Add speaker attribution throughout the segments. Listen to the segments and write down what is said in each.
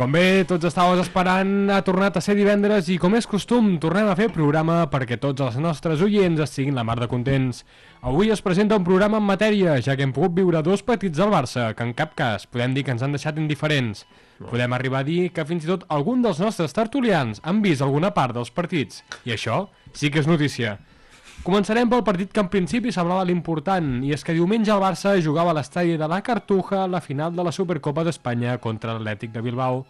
Speaker 1: Com bé, tots estàveu esperant, ha tornat a ser divendres i, com és costum, tornem a fer programa perquè tots els nostres oients estiguin la mar de contents. Avui es presenta un programa en matèria, ja que hem pogut viure dos petits del Barça, que en cap cas podem dir que ens han deixat indiferents. Podem arribar a dir que fins i tot algun dels nostres tertulians han vist alguna part dels partits, i això sí que és notícia. Començarem pel partit que en principi semblava l'important, i és que diumenge el Barça jugava a l'estadi de la Cartuja la final de la Supercopa d'Espanya contra l'Atlètic de Bilbao.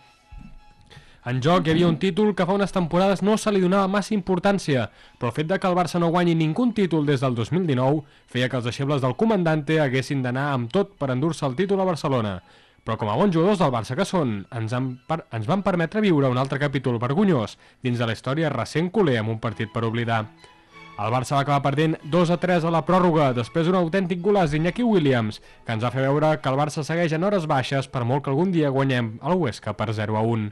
Speaker 1: En joc hi havia un títol que fa unes temporades no se li donava massa importància, però el fet de que el Barça no guanyi ningú títol des del 2019 feia que els deixebles del comandante haguessin d'anar amb tot per endur-se el títol a Barcelona. Però com a bons jugadors del Barça que són, ens, han per... ens van permetre viure un altre capítol vergonyós dins de la història recent culer amb un partit per oblidar. El Barça va acabar perdent 2 a 3 a la pròrroga, després d'un autèntic golaç d'Iñaki Williams, que ens va fer veure que el Barça segueix en hores baixes per molt que algun dia guanyem el Huesca per 0 a 1.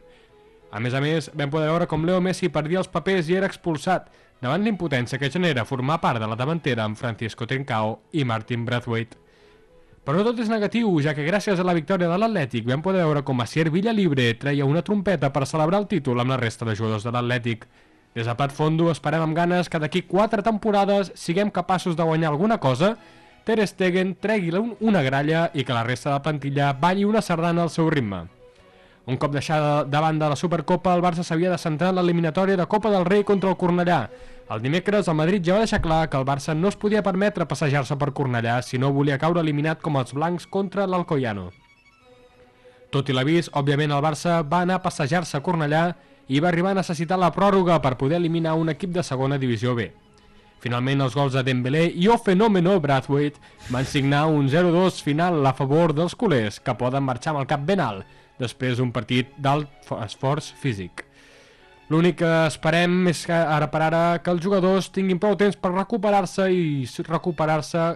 Speaker 1: A més a més, vam poder veure com Leo Messi perdia els papers i era expulsat, davant l'impotència que genera formar part de la davantera amb Francisco Trincao i Martin Brathwaite. Però no tot és negatiu, ja que gràcies a la victòria de l'Atlètic vam poder veure com a Sier Villalibre treia una trompeta per celebrar el títol amb la resta de jugadors de l'Atlètic. Des de Prat Fondo esperem amb ganes que d'aquí 4 temporades siguem capaços de guanyar alguna cosa, Ter Stegen tregui un- una gralla i que la resta de la plantilla balli una sardana al seu ritme. Un cop deixada de banda la Supercopa, el Barça s'havia de centrar en l'eliminatòria de Copa del Rei contra el Cornellà. El dimecres, el Madrid ja va deixar clar que el Barça no es podia permetre passejar-se per Cornellà si no volia caure eliminat com els blancs contra l'Alcoiano. Tot i l'avís, òbviament el Barça va anar a passejar-se a Cornellà i va arribar a necessitar la pròrroga per poder eliminar un equip de segona divisió B. Finalment, els gols de Dembélé i o fenomeno Brathwaite van signar un 0-2 final a favor dels culers, que poden marxar amb el cap ben alt, després d'un partit d'alt fo- esforç físic. L'únic que esperem és que ara per ara que els jugadors tinguin prou temps per recuperar-se i s- recuperar-se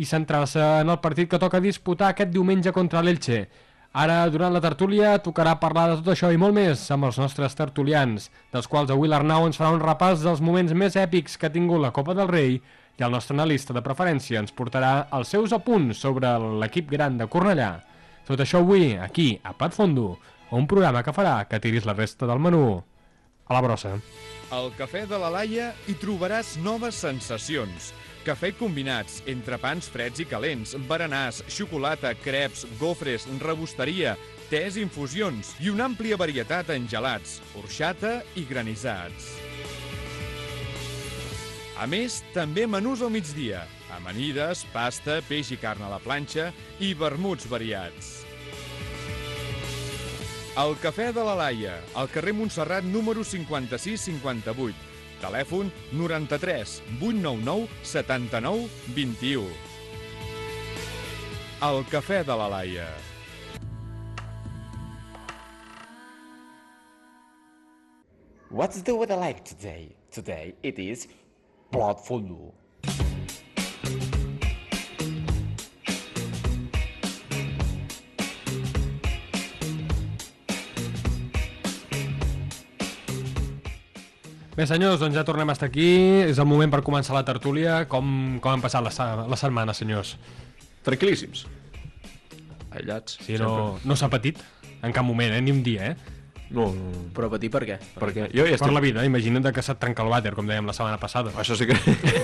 Speaker 1: i centrar-se en el partit que toca disputar aquest diumenge contra l'Elche. Ara, durant la tertúlia, tocarà parlar de tot això i molt més amb els nostres tertulians, dels quals avui l'Arnau ens farà un repàs dels moments més èpics que ha tingut la Copa del Rei i el nostre analista de preferència ens portarà els seus apunts sobre l'equip gran de Cornellà. Tot això avui, aquí, a Pat Fondo, un programa que farà que tiris la resta del menú a la brossa.
Speaker 2: Al Cafè de la Laia hi trobaràs noves sensacions. Cafè i combinats, entrepans freds i calents, berenars, xocolata, creps, gofres, rebosteria, tés i infusions i una àmplia varietat en gelats, orxata i granissats. A més, també menús al migdia, amanides, pasta, peix i carn a la planxa i vermuts variats. El Cafè de la Laia, al carrer Montserrat número 5658. Telèfon 93 899 79 21. El Cafè de la Laia.
Speaker 3: What's the weather like today? Today it is blood fondue.
Speaker 1: Bé, senyors, doncs ja tornem a estar aquí. És el moment per començar la tertúlia. Com, com han passat la, se- la setmana, senyors?
Speaker 4: Tranquil·líssims. Aïllats.
Speaker 1: Sí, no no s'ha patit en cap moment, eh? ni un dia, eh?
Speaker 4: No, no, no.
Speaker 5: Però patir per què?
Speaker 4: Perquè jo ja
Speaker 1: Per
Speaker 4: estic...
Speaker 1: la vida, imagina't que se't trenca el vàter, com dèiem la setmana passada.
Speaker 4: Això sí que...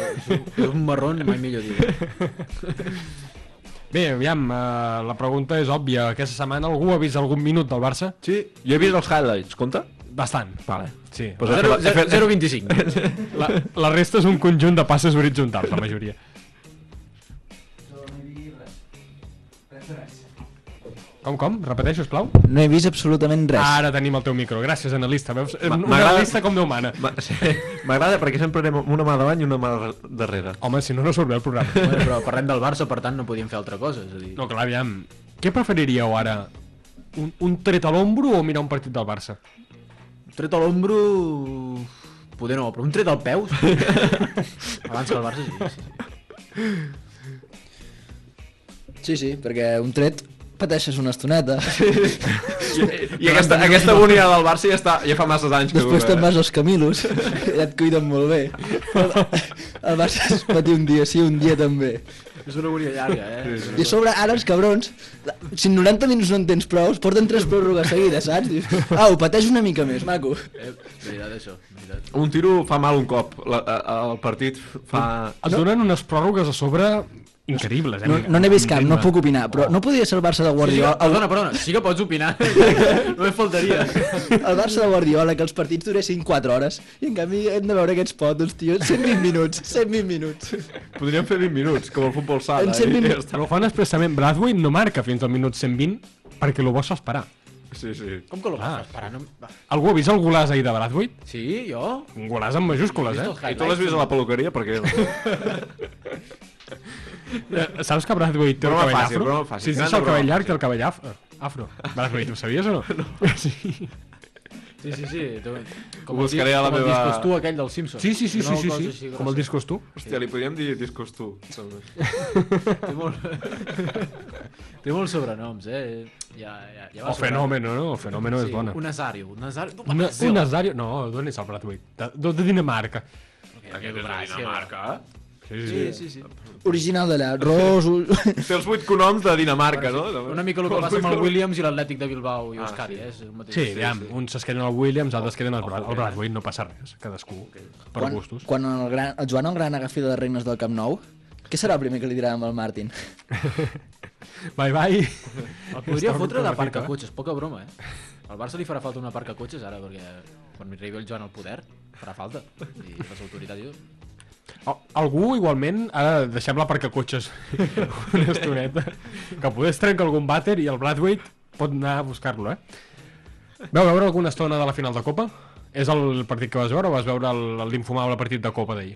Speaker 5: És un marrón, mai millor dit.
Speaker 1: Bé, aviam, eh, la pregunta és òbvia. Aquesta setmana algú ha vist algun minut del Barça?
Speaker 4: sí, jo he vist els highlights, compte?
Speaker 1: Bastant.
Speaker 4: Vale.
Speaker 1: Sí.
Speaker 4: Pues he
Speaker 5: Zero-
Speaker 4: fet- he
Speaker 5: zero-
Speaker 4: fet-
Speaker 5: 0,25.
Speaker 1: La, la resta és un conjunt de passes horitzontals, la majoria. Com, com? Repeteix, sisplau.
Speaker 6: No he vist absolutament res.
Speaker 1: Ara tenim el teu micro. Gràcies, analista. Veus?
Speaker 4: Ma-
Speaker 1: Un
Speaker 4: m'agrada-
Speaker 1: analista com Déu mana.
Speaker 4: Ma- sí, M'agrada perquè sempre anem amb una mà davant i una mà dar- darrere.
Speaker 1: Home, si no, no surt bé el programa.
Speaker 5: bueno, però parlem del Barça, per tant no podíem fer altra cosa. És a dir,
Speaker 1: No, clar, aviam. Què preferiríeu ara? Un, un tret a l'ombro o mirar un partit del Barça?
Speaker 5: tret a l'ombro... Poder no, però un tret al peu... sí. Abans que el Barça, sí. sí, sí.
Speaker 6: Sí, sí, perquè un tret pateixes una estoneta,
Speaker 4: I, i aquesta, aquesta agonia del Barça ja, està, ja fa masses anys que
Speaker 6: després
Speaker 4: dura,
Speaker 6: te'n
Speaker 4: eh?
Speaker 6: vas als caminos, i et cuiden molt bé. El Barça es patir un dia sí, un dia també.
Speaker 5: És una agonia llarga, eh?
Speaker 6: I a sobre, ara els cabrons, la- si en 90 minuts no en tens prou, porten tres pròrrogues seguides, saps? Dius, au, pateix una mica més, maco.
Speaker 5: eh veritat, això. Veritat.
Speaker 4: Un tiro fa mal un cop. La, a- el partit fa...
Speaker 1: Et donen unes pròrrogues a sobre increïbles, eh?
Speaker 6: No no n'he vist cap, no puc opinar, però no podia ser el Barça de
Speaker 5: Sí,
Speaker 6: Guardiola,
Speaker 5: perdona, perdona, sí que pots opinar. Només faltaria.
Speaker 6: el Barça de Guardiola, que els partits duressin 4 hores, i en canvi hem de veure aquests potos, tio, 120 minuts, 120 minuts.
Speaker 4: Podríem fer 20 minuts, com el futbol sala.
Speaker 6: En 100
Speaker 4: i ja
Speaker 6: minuts.
Speaker 4: està.
Speaker 1: Però ho fan expressament. Bradway no marca fins al minut 120 perquè lo vols esperar.
Speaker 4: Sí, sí.
Speaker 5: Com que lo vas esperar? No... va.
Speaker 1: Algú ha vist el golàs ahir de Bradway?
Speaker 5: Ah. Sí, jo?
Speaker 1: Un golàs amb majúscules, eh?
Speaker 4: I tu l'has vist a la peluqueria perquè...
Speaker 1: Eh, Saps que Bradway té el
Speaker 4: Broma
Speaker 1: cabell
Speaker 4: fàcil,
Speaker 1: afro?
Speaker 4: broma
Speaker 1: Sí,
Speaker 4: fàcil.
Speaker 1: sí,
Speaker 4: Gran
Speaker 1: el cabell
Speaker 4: broma.
Speaker 1: llarg, té el cabell afro. afro. Bradway, ho sabies o no? no. Sí.
Speaker 5: Sí, sí, sí. tu- Com
Speaker 4: Ho
Speaker 5: el, dis-
Speaker 4: buscaré a la
Speaker 5: com el
Speaker 4: meva-
Speaker 5: discos tu aquell del Simpson.
Speaker 1: Sí, sí, sí,
Speaker 5: Era
Speaker 1: sí,
Speaker 5: una
Speaker 1: sí,
Speaker 5: cosa
Speaker 1: sí.
Speaker 5: així
Speaker 1: Com el
Speaker 5: grossa.
Speaker 1: discos tu.
Speaker 4: Hòstia, li podríem dir discos tu. també.
Speaker 5: Té, molt... Té molts sobrenoms, eh? Ja, ja, ja
Speaker 1: O
Speaker 5: va sobrant.
Speaker 1: Fenómeno, no? O Fenómeno Oh, és bona.
Speaker 5: Un Nazario. Un Nazario. Tu,
Speaker 1: Una,
Speaker 5: Brasil.
Speaker 1: un Nazario... No, d'on és el Bradway? De, de, de Dinamarca.
Speaker 5: Aquest és de Dinamarca.
Speaker 1: Sí, sí,
Speaker 5: Sí, sí, sí.
Speaker 6: Original d'allà, ros, ulls...
Speaker 4: Té els vuit cognoms de Dinamarca, no?
Speaker 5: Una mica el que
Speaker 4: Els
Speaker 5: passa
Speaker 4: vuit
Speaker 5: amb el
Speaker 4: cognoms.
Speaker 5: Williams i l'Atlètic de Bilbao i Euskadi,
Speaker 4: sí.
Speaker 5: eh? És el mateix.
Speaker 1: Sí, aviam, uns es queden al Williams, altres queden al Brad, al Bradway, no passa res, cadascú per
Speaker 6: quan,
Speaker 1: gustos.
Speaker 6: Quan el, gran, el Joan el Gran agafi les regnes del Camp Nou, què serà el primer que li dirà amb el Martin?
Speaker 1: Bye bye.
Speaker 5: El podria
Speaker 1: Està
Speaker 5: fotre de
Speaker 1: convertit,
Speaker 5: parca
Speaker 1: eh?
Speaker 5: cotxes, poca broma, eh? Al Barça li farà falta una parca cotxes ara, perquè quan arribi el Joan al poder, farà falta. I les autoritats, jo...
Speaker 1: Al- Algú, igualment, ara deixem-la perquè cotxes una estoneta, que poder es trenca algun vàter i el Bradway pot anar a buscar-lo, eh? Vau veure alguna estona de la final de Copa? És el partit que vas veure o vas veure el- el- l'infumable partit de Copa d'ahir?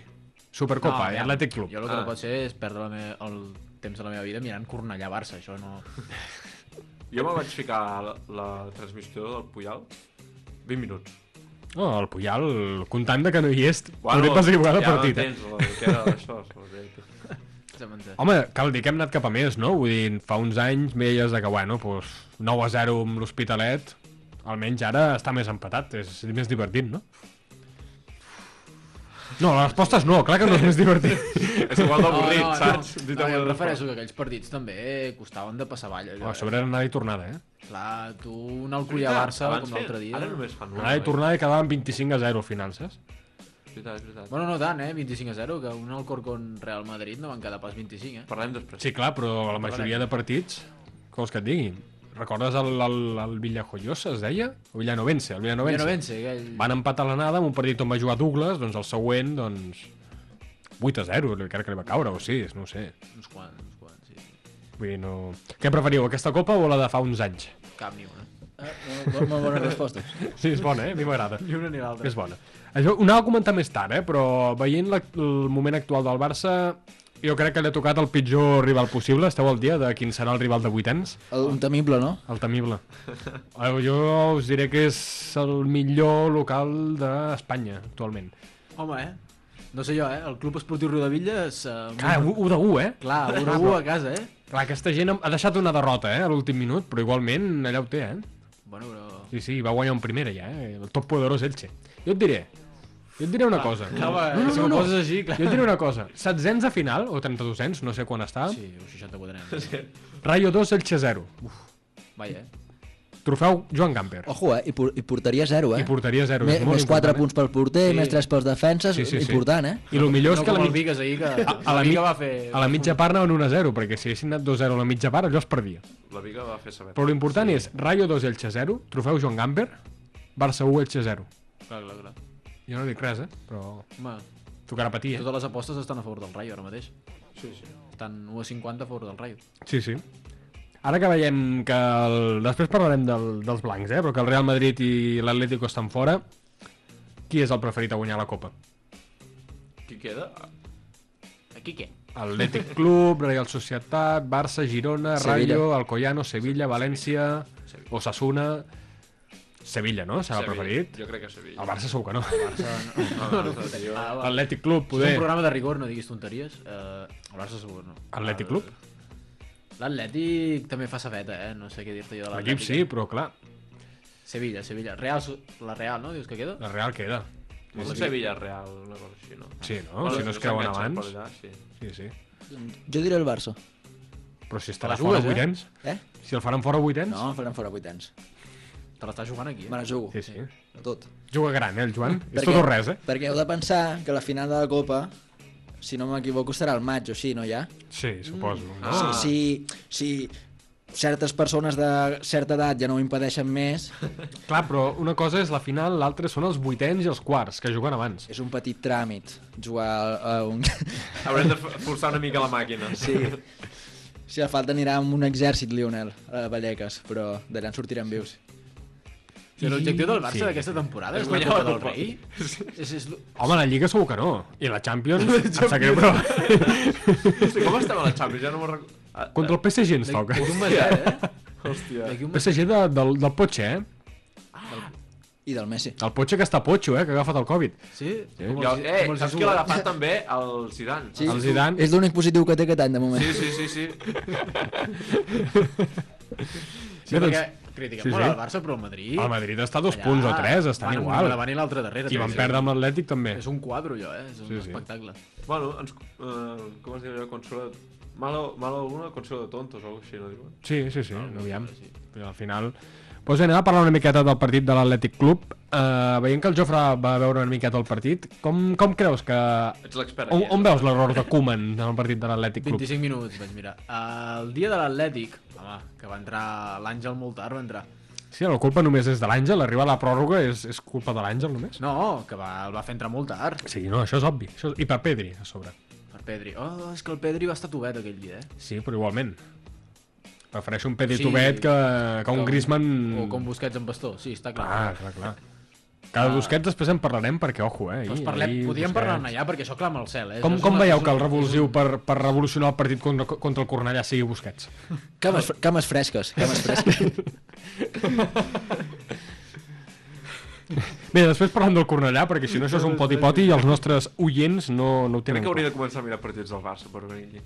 Speaker 1: Supercopa, no,
Speaker 5: aviam,
Speaker 1: eh? Atlètic Club.
Speaker 5: Jo el que no pot ser és perdre la me... el temps de la meva vida mirant Cornellà-Barça, això no...
Speaker 4: Jo me vaig ficar a la, la transmissió del Puyal 20 minuts.
Speaker 1: Oh, el Puyal, comptant de que no hi és, bueno, podria passar igual el
Speaker 4: ja
Speaker 1: partit, eh?
Speaker 4: tens, la, que era això, la-
Speaker 5: Exacte.
Speaker 1: Home, cal dir que hem anat cap a més, no? Vull dir, fa uns anys veies de que, bueno, pues, 9 a 0 amb l'Hospitalet, almenys ara està més empatat, és més divertit, no? No, la resposta és no, clar que no és més divertit.
Speaker 4: és igual d'avorrit,
Speaker 5: no,
Speaker 4: saps?
Speaker 5: No,
Speaker 4: Dit
Speaker 5: no,
Speaker 4: amb
Speaker 5: jo em
Speaker 4: el-
Speaker 5: refereixo que aquells partits també costaven de passar avall.
Speaker 1: Oh, a sobre era anada i tornada, eh?
Speaker 5: Clar, tu un Alcoyà-Barça
Speaker 4: Abans
Speaker 5: com
Speaker 4: feien-
Speaker 5: l'altre dia...
Speaker 4: Ara només fan un.
Speaker 1: Anada i tornada i quedaven 25 a 0 al final, saps?
Speaker 4: És veritat, és veritat.
Speaker 5: Bueno, no tant, eh? 25 a 0, que un Alcorcón Real Madrid no van quedar pas 25, eh?
Speaker 4: Parlem després.
Speaker 1: Sí, clar, però la majoria de partits, què vols que et digui? Recordes el, el, el Villajoyosa, es deia? O Villanovense, el
Speaker 5: Ja no
Speaker 1: Villanovense.
Speaker 5: vence, aquell...
Speaker 1: Van empatar a l'anada amb un partit on va jugar Douglas, doncs el següent, doncs... 8 a 0, crec que li va caure, o 6, no ho sé.
Speaker 5: Uns quants, uns quants, sí.
Speaker 1: Vull dir, no... Què preferiu, aquesta copa o la de fa uns anys?
Speaker 5: Cap ni una.
Speaker 6: Ah, molt, molt bones respostes.
Speaker 1: Sí, és bona, eh? A mi m'agrada.
Speaker 5: Ni una ni l'altra.
Speaker 1: És bona. Això ho anava a comentar més tard, eh? Però veient la, el moment actual del Barça, jo crec que li ha tocat el pitjor rival possible. Esteu al dia de quin serà el rival de vuitens?
Speaker 6: El, un temible, no?
Speaker 1: El temible. Eh, Jo us diré que és el millor local d'Espanya, actualment.
Speaker 5: Home, eh? No sé jo, eh? El Club Esportiu Rodavilla és... Uh,
Speaker 1: Ah, 1 de 1, eh?
Speaker 5: Clar, un a un a casa, eh?
Speaker 1: Clar, aquesta gent ha deixat una derrota, eh, a l'últim minut, però igualment allà ho té, eh?
Speaker 5: Bueno, però...
Speaker 1: Sí, sí, va guanyar en primera ja, eh? El top poderós Elche. Jo et diré, jo et diré una cosa.
Speaker 5: Clar, va, no, no, si no, poses així, clar...
Speaker 1: Jo et diré una cosa. Setzens de final, o 32ens, no sé quan està,
Speaker 5: Sí, un 64 anys. Sí.
Speaker 1: Rayo 2, Elche 0.
Speaker 5: Vaja, eh?
Speaker 1: Trofeu Joan Gamper.
Speaker 5: Oh.
Speaker 6: Ojo, eh? I, por, i portaria 0, eh?
Speaker 1: I portaria 0.
Speaker 6: Me,
Speaker 1: és molt
Speaker 6: més 4
Speaker 1: important, eh?
Speaker 6: punts pel porter, sí. més 3 pels defenses,
Speaker 1: Sí, sí, sí.
Speaker 6: important, eh?
Speaker 1: I el millor
Speaker 5: no
Speaker 1: és que a la,
Speaker 5: com el
Speaker 1: mitja,
Speaker 5: Vigas ahir, que
Speaker 1: a, a, la,
Speaker 5: la Viga
Speaker 1: mi-
Speaker 5: va fer...
Speaker 1: a la mitja part anaven 1 a 0, perquè si haguessin anat 2 0 a la mitja part, allò es perdia.
Speaker 4: La Viga va fer saber.
Speaker 1: Però l'important és Rayo 2, Elche 0, trofeu Joan Gamper, Barça 1, Elche 0.
Speaker 5: Clar, clar, clar.
Speaker 1: Jo no dic res, eh? Però
Speaker 5: Home,
Speaker 1: tocarà patir, eh?
Speaker 5: totes les apostes estan a favor del Rayo ara mateix. Sí, sí. Estan 1 a 50 a favor del Rayo.
Speaker 1: Sí, sí. Ara que veiem que... El... Després parlarem del, dels blancs, eh? Però que el Real Madrid i l'Atlético estan fora, qui és el preferit a guanyar la Copa?
Speaker 4: Qui queda?
Speaker 5: Aquí què?
Speaker 1: Atlètic Club, Real Societat, Barça, Girona,
Speaker 6: Sevilla.
Speaker 1: Rayo, Alcoyano, Sevilla, València, Osasuna... Sevilla, no? Serà el
Speaker 4: Sevilla.
Speaker 1: preferit?
Speaker 4: Jo crec que Sevilla.
Speaker 1: El Barça segur que no.
Speaker 4: Ah, no, jo-
Speaker 5: Ah, va.
Speaker 1: Atlètic Club,
Speaker 5: És un
Speaker 1: poder.
Speaker 5: programa de rigor, no diguis tonteries. Uh, el Barça segur, no.
Speaker 1: Atlètic Club?
Speaker 5: L'Atlètic també fa sabeta, eh? No sé què dir-te jo de l'Atlètic.
Speaker 1: L'equip sí, però clar,
Speaker 5: Sevilla, Sevilla. Real, so- la Real, no? Dius que queda?
Speaker 1: la Real queda.
Speaker 4: És Sevilla Real, una cosa així, no?
Speaker 1: Sí, no? Si no es creuen
Speaker 4: s'enganxen
Speaker 1: abans.
Speaker 4: per Allà, sí.
Speaker 1: Sí, sí.
Speaker 6: Jo diré el Barça.
Speaker 1: Però si estarà
Speaker 5: la jugues,
Speaker 1: fora 8
Speaker 5: eh?
Speaker 1: anys,
Speaker 6: Eh?
Speaker 1: si el faran fora 8 anys,
Speaker 6: No, el faran fora 8 anys.
Speaker 5: Te l'estàs jugant aquí,
Speaker 6: Me
Speaker 5: eh?
Speaker 6: la jugo.
Speaker 1: sí, sí.
Speaker 6: A tot.
Speaker 1: Juga gran, eh, el Joan? És tot o res, eh?
Speaker 6: Perquè heu de pensar que la final de la Copa, si no m'equivoco, serà el maig o així, no ja?
Speaker 1: Sí, suposo. No?
Speaker 4: Ah.
Speaker 6: Si, si certes persones de certa edat ja no ho impedeixen més,
Speaker 1: Clar, però una cosa és la final, l'altra són els vuitens i els quarts, que juguen abans.
Speaker 6: és un petit tràmit jugar a un...
Speaker 4: Haurem de f- forçar una mica la màquina.
Speaker 6: Sí. Si fa falta anirà amb un exèrcit, Lionel, a Vallecas, però d'allà en sortirem vius.
Speaker 5: I l'objectiu del Barça
Speaker 1: Sí.
Speaker 5: d'aquesta temporada és guanyar
Speaker 4: Guanyar
Speaker 5: la
Speaker 4: la
Speaker 5: Copa del
Speaker 4: Copa.
Speaker 5: Rei? És, és, l-
Speaker 1: Home, la Lliga segur que no. I la Champions, em sap greu, però...
Speaker 4: Sí, com estava la Champions? Ja no me'n recordo. Ah,
Speaker 1: Contra el PSG ens toca.
Speaker 5: D'aquí un mes, eh?
Speaker 4: Hòstia.
Speaker 5: D'aquí un mes.
Speaker 1: PSG de, del, del Potxe, eh?
Speaker 6: I del Messi.
Speaker 1: El Potxe que està potxo, eh? Que ha agafat el Covid.
Speaker 5: Sí?
Speaker 4: I el, eh,
Speaker 5: com els
Speaker 4: saps
Speaker 5: hi
Speaker 4: qui l'ha
Speaker 5: juga?
Speaker 4: agafat també? El Zidane.
Speaker 6: Sí.
Speaker 1: El Zidane...
Speaker 6: És l'únic positiu que té aquest any, de moment.
Speaker 4: Sí, sí, sí, sí.
Speaker 5: Sí,
Speaker 1: Bé, doncs,
Speaker 5: perquè critiquem
Speaker 1: sí,
Speaker 5: molt
Speaker 1: sí.
Speaker 5: el Barça, però el Madrid...
Speaker 1: El Madrid està a dos punts o tres, estan
Speaker 5: van
Speaker 1: igual.
Speaker 5: Van davant i l'altre darrere.
Speaker 1: Qui van
Speaker 5: també.
Speaker 1: perdre amb l'Atlètic també.
Speaker 5: És un quadro, allò, eh? És un
Speaker 1: Sí, sí.
Speaker 5: espectacle.
Speaker 4: Bueno, ens, eh, com es diu allò? Consola... Malo, malo alguna, consola de tontos o alguna així, no diuen?
Speaker 1: Sí, sí, sí, no, aviam. Però al final... Doncs bé, anem a parlar una miqueta del partit de l'Atlètic Club. Uh, veient que el Jofre va veure una miqueta el partit, com, com creus que...
Speaker 4: Ets l'expert.
Speaker 1: On,
Speaker 4: aquí,
Speaker 1: on
Speaker 4: eh?
Speaker 1: veus l'error de Koeman en el partit de l'Atlètic Club?
Speaker 5: 25 minuts, vaig mirar. El dia de l'Atlètic, home, que va entrar l'Àngel molt tard, va entrar.
Speaker 1: Sí, la culpa només és de l'Àngel, arribar a la pròrroga és, és culpa de l'Àngel només?
Speaker 5: No, que va, el va fer entrar molt tard
Speaker 1: Sí, no, això és obvi. Això és... I per Pedri, a sobre.
Speaker 5: per Pedri. Oh, és que el Pedri va estar tovet aquell dia, eh?
Speaker 1: Sí, però igualment. Prefereixo un Pedri
Speaker 5: Sí.
Speaker 1: sí, Tubet que, que un
Speaker 5: Com-
Speaker 1: Griezmann...
Speaker 5: O com Busquets amb Bastó, sí, està clar.
Speaker 1: Mm. Ah, clar, clar. Cada Busquets després en parlarem perquè, ojo, eh?
Speaker 5: Doncs
Speaker 1: ahir-
Speaker 5: parlem,
Speaker 1: ahir
Speaker 5: podíem
Speaker 1: Busquets.
Speaker 5: parlar-ne allà, perquè això clama al cel, eh?
Speaker 1: Com,
Speaker 5: Això és
Speaker 1: com
Speaker 5: una-
Speaker 1: veieu
Speaker 5: és
Speaker 1: que el
Speaker 5: un-
Speaker 1: revulsiu per, per revolucionar el partit contra, contra el Cornellà sigui Busquets?
Speaker 6: Cames, fre- cames fresques, cames fresques.
Speaker 1: Bé, després parlem del Cornellà, perquè si no això és un poti-poti i els nostres oients no, no ho
Speaker 4: eh? Crec
Speaker 1: tenen.
Speaker 4: que
Speaker 1: clar.
Speaker 4: hauria de començar a mirar partits del Barça per venir aquí.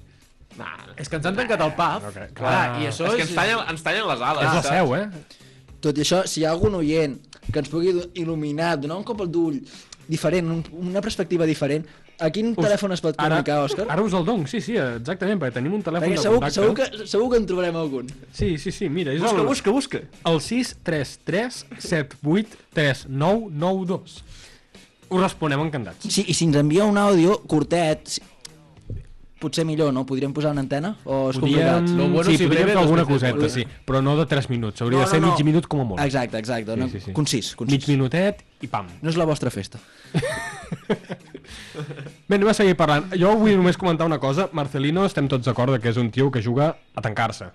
Speaker 5: És que ens han tancat el pub,
Speaker 1: ok,
Speaker 5: okay,
Speaker 1: clar.
Speaker 5: clar, i això
Speaker 4: és que ens tallen, ens tallen les ales.
Speaker 1: És la
Speaker 4: Ah, saps?
Speaker 1: seu, eh?
Speaker 6: Tot i això, si hi ha algun oient que ens pugui do- il·luminar, donar un cop al d'ull diferent, un, una perspectiva diferent, a quin telèfon es pot comunicar, Òscar?
Speaker 1: Ara us el dono, sí, sí, exactament, perquè tenim un telèfon
Speaker 6: Perquè
Speaker 1: de
Speaker 6: segur,
Speaker 1: contacte.
Speaker 6: segur, que, segur que en trobarem algun.
Speaker 1: Sí, sí, sí, mira, és busca, el... Busca, busca, El 633 78 3992. Us responem encantats.
Speaker 6: Sí, I si ens envia un àudio curtet, si... potser millor, no? Podríem posar una antena? O és
Speaker 1: Podíem...
Speaker 6: complicat?
Speaker 5: Lo bueno
Speaker 1: sí,
Speaker 5: si
Speaker 1: podríem
Speaker 5: breve,
Speaker 1: fer
Speaker 5: dos
Speaker 1: alguna
Speaker 5: veces
Speaker 1: coseta,
Speaker 5: bueno.
Speaker 1: sí, però no de 3 minuts, hauria de ser mig minut com a molt.
Speaker 6: Exacte, exacte. Sí, no? sí, sí. Concís, concís.
Speaker 1: Mig minutet i pam.
Speaker 6: No és la vostra festa.
Speaker 1: Bé, anem a seguir parlant. Jo vull només comentar una cosa. Marcelino, estem tots d'acord que és un tio que juga a tancar-se.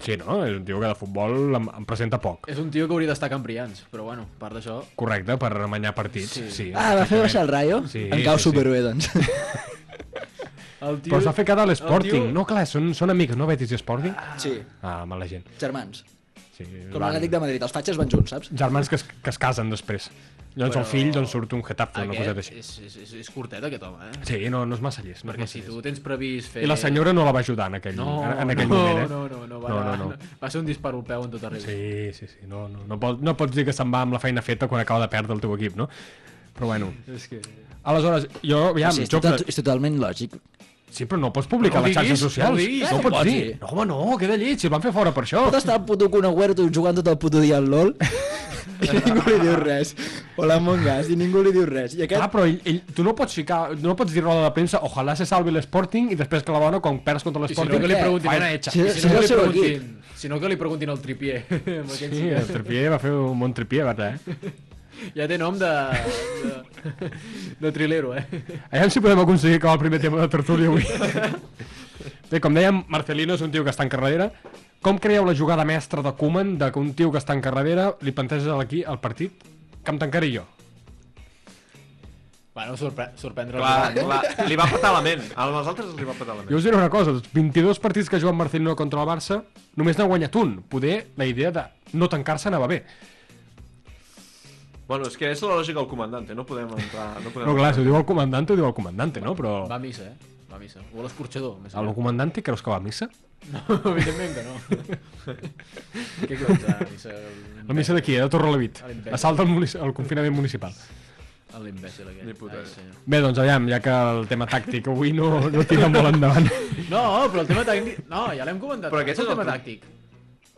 Speaker 1: Sí, no? És un tio que de futbol em, em presenta poc.
Speaker 5: És un tio que hauria d'estar a Cambrians, però bueno, a part d'això...
Speaker 1: Correcte, per remanyar partits. Sí. sí
Speaker 6: Ah, va fer baixar el rayo?
Speaker 1: Sí,
Speaker 6: em cau
Speaker 1: sí, sí.
Speaker 6: superbé, doncs.
Speaker 5: El tio...
Speaker 1: Però s'ha fet quedar a l'Sporting.
Speaker 5: El tio-
Speaker 1: No, clar, són, són amics, no? Betis i Sporting?
Speaker 6: Sí,
Speaker 1: Ah, mala gent.
Speaker 6: germans.
Speaker 1: Sí,
Speaker 6: Com
Speaker 1: van-
Speaker 6: l'Atlètic de Madrid, els fatxes van junts, saps?
Speaker 1: Germans que es, que es casen després. Llavors el fill doncs, surt un Getafe, una coseta
Speaker 5: Aquest
Speaker 1: així.
Speaker 5: és, és, és, és curtet, aquest home, eh?
Speaker 1: Sí, no, no és massa llest. No és
Speaker 5: Perquè
Speaker 1: massa
Speaker 5: si
Speaker 1: llest.
Speaker 5: tu tens previst fer...
Speaker 1: I la senyora no la va ajudar en aquell,
Speaker 5: No,
Speaker 1: en, en aquell
Speaker 5: no,
Speaker 1: moment, eh?
Speaker 5: no, no, no, va,
Speaker 1: No, no,
Speaker 5: anar-
Speaker 1: no.
Speaker 5: va ser un dispar al peu en tota regla.
Speaker 1: Sí, sí, sí. No, no, no, pot, no pots dir que se'n va amb la feina feta quan acaba de perdre el teu equip, no? Però bueno.
Speaker 5: És que...
Speaker 1: Aleshores, jo,
Speaker 6: Ja,
Speaker 1: ja,
Speaker 6: sí,
Speaker 1: sí,
Speaker 6: és, total, és totalment lògic.
Speaker 1: sí, però no ho pots publicar
Speaker 5: No ho
Speaker 1: a les xarxes
Speaker 5: diguis, no ho
Speaker 1: socials.
Speaker 5: diguis.
Speaker 1: no ho
Speaker 6: Eh, no
Speaker 1: pots
Speaker 6: pots
Speaker 1: dir.
Speaker 6: dir.
Speaker 1: No, home, no, queda llit, si el van fer fora per això.
Speaker 6: Pot estar el puto Kun Agüero jugant tot el puto dia al LOL i ningú li diu res. O l'Among Us i ningú li diu res. I
Speaker 1: Ah,
Speaker 6: aquest...
Speaker 1: però ell, ell, tu no pots ficar, no pots dir roda de premsa ojalà se salvi l'Sporting i després que la bona quan perds contra
Speaker 5: I si
Speaker 1: l'Sporting
Speaker 5: no, que li
Speaker 6: què?
Speaker 5: preguntin...
Speaker 1: eh, faena hecha.
Speaker 6: Sí,
Speaker 5: I
Speaker 6: sí,
Speaker 5: si no, que
Speaker 6: és el
Speaker 5: li
Speaker 6: seu
Speaker 5: preguntin... Si no, que li preguntin al tripier. amb
Speaker 1: Sí,
Speaker 5: aquest sí,
Speaker 1: el Trepier va fer un bon Trepier, va, eh?
Speaker 5: Ja té nom de... de, de trilero, eh?
Speaker 1: Aviam si podem aconseguir acabar el primer tema de tertúlia avui. Bé, com dèiem, Marcelino és un tio que està en carrera. Com creieu la jugada mestra de Koeman de que un tio que està en carrera li planteja a l'equip el partit que em tancaré jo?
Speaker 5: Bueno, sorpre sorprendre
Speaker 4: Clar,
Speaker 5: el rival, no?
Speaker 4: clar, li va petar la ment. A les altres li va petar
Speaker 1: Jo
Speaker 4: la ment.
Speaker 1: us diré una cosa, dels 22 partits que ha jugat Marcelino contra el Barça, només n'ha guanyat un. Poder la idea de no tancar-se anava bé.
Speaker 4: Bueno, és que és la lògica del comandante, no podem entrar... No podem
Speaker 1: No, clar, si ho diu el comandante, ho diu el comandante, no? Però
Speaker 5: Va a missa, eh? Va a missa. O a l'escorxador, més
Speaker 1: el comandante creus que va a missa?
Speaker 5: No, evidentment que no. Què cops, a la missa?
Speaker 1: La missa d'aquí, eh, de Torrelavit.
Speaker 5: A l'Imperi.
Speaker 1: Assalt al, munici- al confinament municipal.
Speaker 5: L'imbècil aquest.
Speaker 4: Ni puta
Speaker 5: Ai,
Speaker 4: idea.
Speaker 5: senyor.
Speaker 1: Bé, doncs aviam, ja que el tema tàctic avui no, no tira molt endavant.
Speaker 5: No, però el tema tàctic... No, ja l'hem comentat. eh,
Speaker 4: Però aquest
Speaker 5: el
Speaker 4: és el
Speaker 5: tema
Speaker 4: punt.
Speaker 5: tàctic.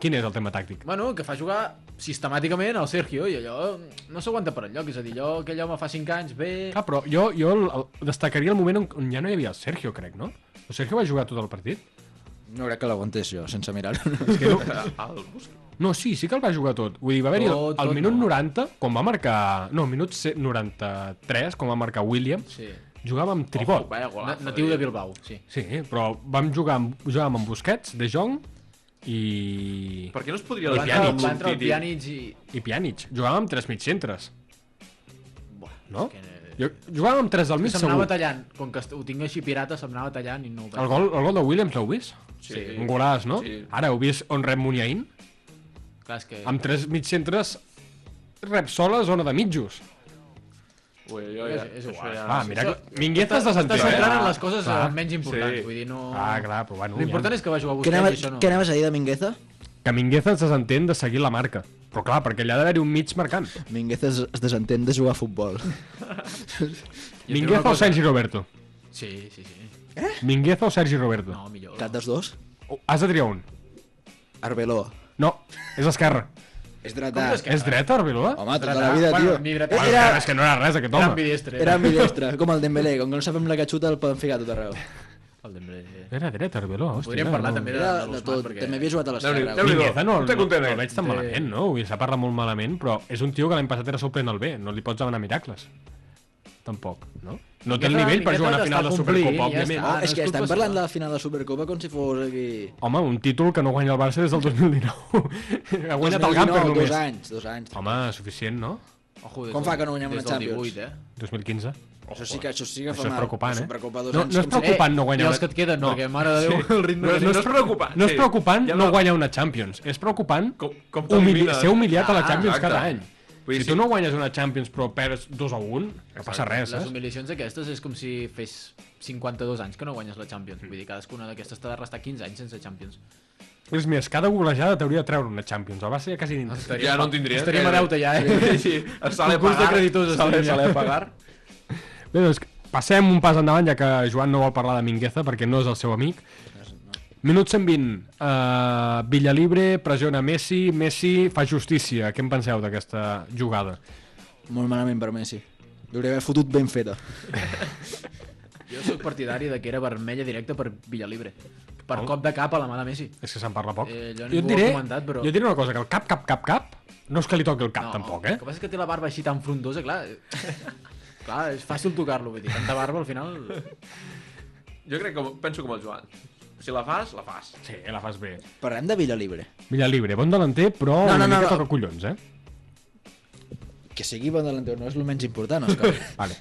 Speaker 1: Quin és el tema tàctic?
Speaker 5: Bueno, que fa jugar sistemàticament al Sergio i allò no s'aguanta per enlloc. És a dir, allò, aquell home fa 5 anys ve...
Speaker 1: Ah, però jo, jo el, el, destacaria el moment on, on ja no hi havia el Sergio, crec, no? El Sergio va jugar tot el partit?
Speaker 6: No crec que l'aguantés jo, sense mirar-ho.
Speaker 4: Al bus.
Speaker 1: No, sí, sí que el va jugar tot. Vull dir, va haver-hi
Speaker 5: Tot,
Speaker 1: al
Speaker 5: tot
Speaker 1: minut
Speaker 5: no.
Speaker 1: 90, quan va marcar... No, al minut ce- 93, quan va marcar Williams,
Speaker 5: Sí.
Speaker 1: jugava amb tribot.
Speaker 5: eh.
Speaker 4: Vaya golazo.
Speaker 5: Natiu de
Speaker 4: tio.
Speaker 5: Bilbao, sí.
Speaker 1: Sí, però vam jugar amb, jugàvem amb Busquets, De Jong i...
Speaker 4: Per què no es podria
Speaker 5: Va entrar, va entrar el
Speaker 4: Titi?
Speaker 5: Pjanic i...
Speaker 1: i Pjanic. Jugàvem amb tres mig centres,
Speaker 5: Buah,
Speaker 1: no?
Speaker 5: que-
Speaker 1: Jo, jugàvem amb tres al mig,
Speaker 5: Se'm
Speaker 1: segur.
Speaker 5: anava tallant, com que est- ho tinc així pirata, se'm anava tallant i no ho veig.
Speaker 1: El gol, el gol de Williams l'heu vist?
Speaker 4: Sí.
Speaker 1: Un golaç, no?
Speaker 4: Sí.
Speaker 1: Ara heu vist on rep Muniain?
Speaker 5: Clar, és que...
Speaker 1: Amb tres mig centres rep sola zona de mitjos.
Speaker 4: Ui, jo
Speaker 5: És,
Speaker 4: ja...
Speaker 5: és igual.
Speaker 4: això ja-
Speaker 1: Ah, mira, que... Mingueta es desentén.
Speaker 5: Estàs centrant en
Speaker 1: eh?
Speaker 5: les coses
Speaker 1: Clar.
Speaker 5: eh, menys importants,
Speaker 4: Sí.
Speaker 5: vull dir, no...
Speaker 1: Ah, clar, però bueno,
Speaker 5: L'important
Speaker 1: ja.
Speaker 5: és que va jugar
Speaker 6: Què
Speaker 5: Busquets i
Speaker 6: anaves,
Speaker 5: això no.
Speaker 6: què anaves a dir de Mingueza?
Speaker 1: Que Mingueza es desentén de seguir la marca. Però clar, perquè allà ha d'haver-hi un mig marcant.
Speaker 6: Mingueza es, es desentén de jugar a futbol.
Speaker 5: Jo tinc una
Speaker 1: Mingueza o
Speaker 5: cosa-
Speaker 1: Sergi Roberto?
Speaker 5: Sí, sí, sí.
Speaker 1: Mingueza o Sergi Roberto?
Speaker 5: No, millor.
Speaker 6: Cap dels dos?
Speaker 1: Oh, Has de triar un.
Speaker 6: Arbeló.
Speaker 1: No, és esquerra.
Speaker 6: És dretà.
Speaker 5: Com que-
Speaker 1: És dreta, Arbeloa?
Speaker 6: Home, tota
Speaker 5: Dretà.
Speaker 6: la vida,
Speaker 5: Bueno,
Speaker 6: tio.
Speaker 5: ni dretà.
Speaker 1: Bueno,
Speaker 6: era,
Speaker 1: clar, és que no era res aquest
Speaker 5: Era
Speaker 1: home.
Speaker 5: ambidestre.
Speaker 6: era ambidestre, com el Dembélé. Com que no sabem la catxuta el poden ficar a tot arreu.
Speaker 5: El Dembélé.
Speaker 1: Era dreta, Arbeloa. hòstia,
Speaker 5: Podríem parlar
Speaker 1: no.
Speaker 5: també de,
Speaker 6: Era
Speaker 5: de,
Speaker 6: de tot.
Speaker 5: perquè...
Speaker 6: També havia jugat a
Speaker 4: Déu-n'hi-
Speaker 6: l'esquerra.
Speaker 4: Déu-n'hi-do.
Speaker 1: Mingueza no, no,
Speaker 4: Té
Speaker 1: no,
Speaker 4: content,
Speaker 1: el
Speaker 4: eh?
Speaker 1: veig tan malament, no? Vull dir, s'ha parlat molt malament, però és un tio que l'any passat era sorprenent el bé. No li pots demanar miracles. Tampoc, no? No té el
Speaker 5: Mingueza-
Speaker 1: nivell per
Speaker 5: Mingueza
Speaker 1: jugar a una
Speaker 5: t'està
Speaker 1: final de
Speaker 5: complint i
Speaker 1: Supercopa,
Speaker 5: ja
Speaker 1: òbviament.
Speaker 5: està.
Speaker 6: Ah,
Speaker 5: Ah,
Speaker 6: és
Speaker 5: no,
Speaker 6: que
Speaker 5: és
Speaker 6: estem
Speaker 5: culpa
Speaker 6: parlant
Speaker 5: seva.
Speaker 6: de la final de Supercopa com si fos aquí...
Speaker 1: Home, un títol que no guanya el Barça des del 2019. ha guanyat el
Speaker 6: 2019,
Speaker 1: Gamper només.
Speaker 6: Dos anys, dos anys.
Speaker 1: Home, suficient, no?
Speaker 5: Ojo, des
Speaker 6: Com
Speaker 5: del-
Speaker 6: fa que no guanyem
Speaker 5: des del
Speaker 6: una Champions?
Speaker 5: 18, eh?
Speaker 1: 2015.
Speaker 6: Això sí que, això sí que
Speaker 1: Això
Speaker 6: fa
Speaker 1: és
Speaker 6: mal.
Speaker 1: preocupant, eh?
Speaker 6: Supercopa dos
Speaker 1: No,
Speaker 6: anys.
Speaker 1: no és
Speaker 6: com si-
Speaker 1: preocupant no
Speaker 5: I
Speaker 1: guanyar...
Speaker 5: els que et queden, no. perquè, mare de Déu, el ritme...
Speaker 4: No,
Speaker 5: que
Speaker 4: no
Speaker 5: tens-
Speaker 4: és preocupant.
Speaker 1: No és
Speaker 4: sí.
Speaker 1: preocupant
Speaker 4: Ja
Speaker 1: no guanyar una Champions, és preocupant
Speaker 4: Com- com
Speaker 1: humili
Speaker 4: t'elimines.
Speaker 1: ser humiliat a la
Speaker 4: Ah,
Speaker 1: Champions
Speaker 4: exacte.
Speaker 1: cada any.
Speaker 4: Vull dir,
Speaker 1: si
Speaker 4: sí.
Speaker 1: tu no guanyes una Champions però perds 2 a 1, no passa res, eh?
Speaker 5: Les
Speaker 1: saps?
Speaker 5: humiliacions aquestes és com si fes 52 anys que no guanyes la Champions. Vull dir, cadascuna d'aquestes t'ha de restar 15 anys sense Champions.
Speaker 1: És més, cada golejada t'hauria de treure una Champions, el Barça ja quasi dintre.
Speaker 4: Ja no en tindries.
Speaker 5: Estaríem a deute ja, eh?
Speaker 4: Sí, sí. Es sale a
Speaker 5: Concurs de
Speaker 4: pagar.
Speaker 5: creditors
Speaker 4: Sale,
Speaker 5: estaríem ja.
Speaker 4: sale a pagar.
Speaker 1: Bé, doncs passem un pas endavant, ja que Joan no vol parlar de Mingueza perquè no és el seu amic. Minut 120. Uh, Villalibre pressiona Messi, Messi fa justícia. Què en penseu d'aquesta jugada?
Speaker 6: Molt malament per Messi. L'hauria d'haver fotut ben feta.
Speaker 5: Jo sóc partidari de que era vermella directa per Villalibre. Per cop de cap a la mà de Messi.
Speaker 1: És que se'n parla poc.
Speaker 5: Eh, jo
Speaker 1: et
Speaker 5: ningú ho ha comentat, però-
Speaker 1: jo et diré una cosa, que el cap, cap, cap, cap, no és que li toqui el cap, tampoc, eh?
Speaker 5: El que passa és que té la barba així tan frondosa, clar... eh, clar, és fàcil tocar-lo, vull dir, tanta barba al final...
Speaker 4: Jo crec que penso com el Joan. Si la fas, la fas.
Speaker 1: Sí, la fas bé.
Speaker 6: Parlem de Villalibre.
Speaker 1: Villalibre, bon delanter, però no,
Speaker 6: No, no,
Speaker 1: una
Speaker 6: no,
Speaker 1: mica
Speaker 6: no.
Speaker 1: toca collons, eh?
Speaker 6: Que sigui bon delanter no és el menys important, Òscar.
Speaker 1: Vale.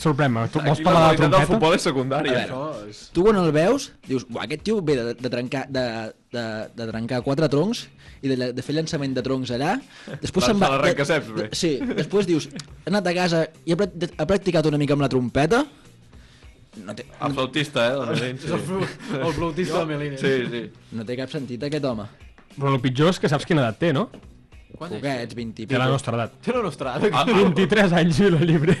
Speaker 1: Sorprèn-me, tu vols
Speaker 4: Aquí
Speaker 1: parlar de la
Speaker 4: qualitat del
Speaker 1: trompeta?
Speaker 4: futbol és secundària.
Speaker 5: Això és...
Speaker 6: tu quan el veus, dius, "Buah, aquest tio ve de, de, trencar, de, de, de trencar quatre troncs i de, de fer llançament de troncs allà. Després
Speaker 4: Va-
Speaker 6: se'n va...
Speaker 4: se l'arrenca ceps, bé.
Speaker 6: de- Sí, després dius, ha anat a casa i ha, prac- ha practicat una mica amb la trompeta. No té,
Speaker 4: El flautista, eh? de Medellín,
Speaker 5: És el,
Speaker 4: sí.
Speaker 5: flu- el flautista de Melines.
Speaker 4: Sí, sí.
Speaker 6: no té cap sentit aquest home.
Speaker 1: Però el pitjor és que saps quina edat té, no?
Speaker 5: Quants anys?
Speaker 6: Poquets, 20 i
Speaker 1: Té la
Speaker 6: pico.
Speaker 1: nostra edat.
Speaker 5: Té la nostra edat.
Speaker 1: 23 anys i la llibre.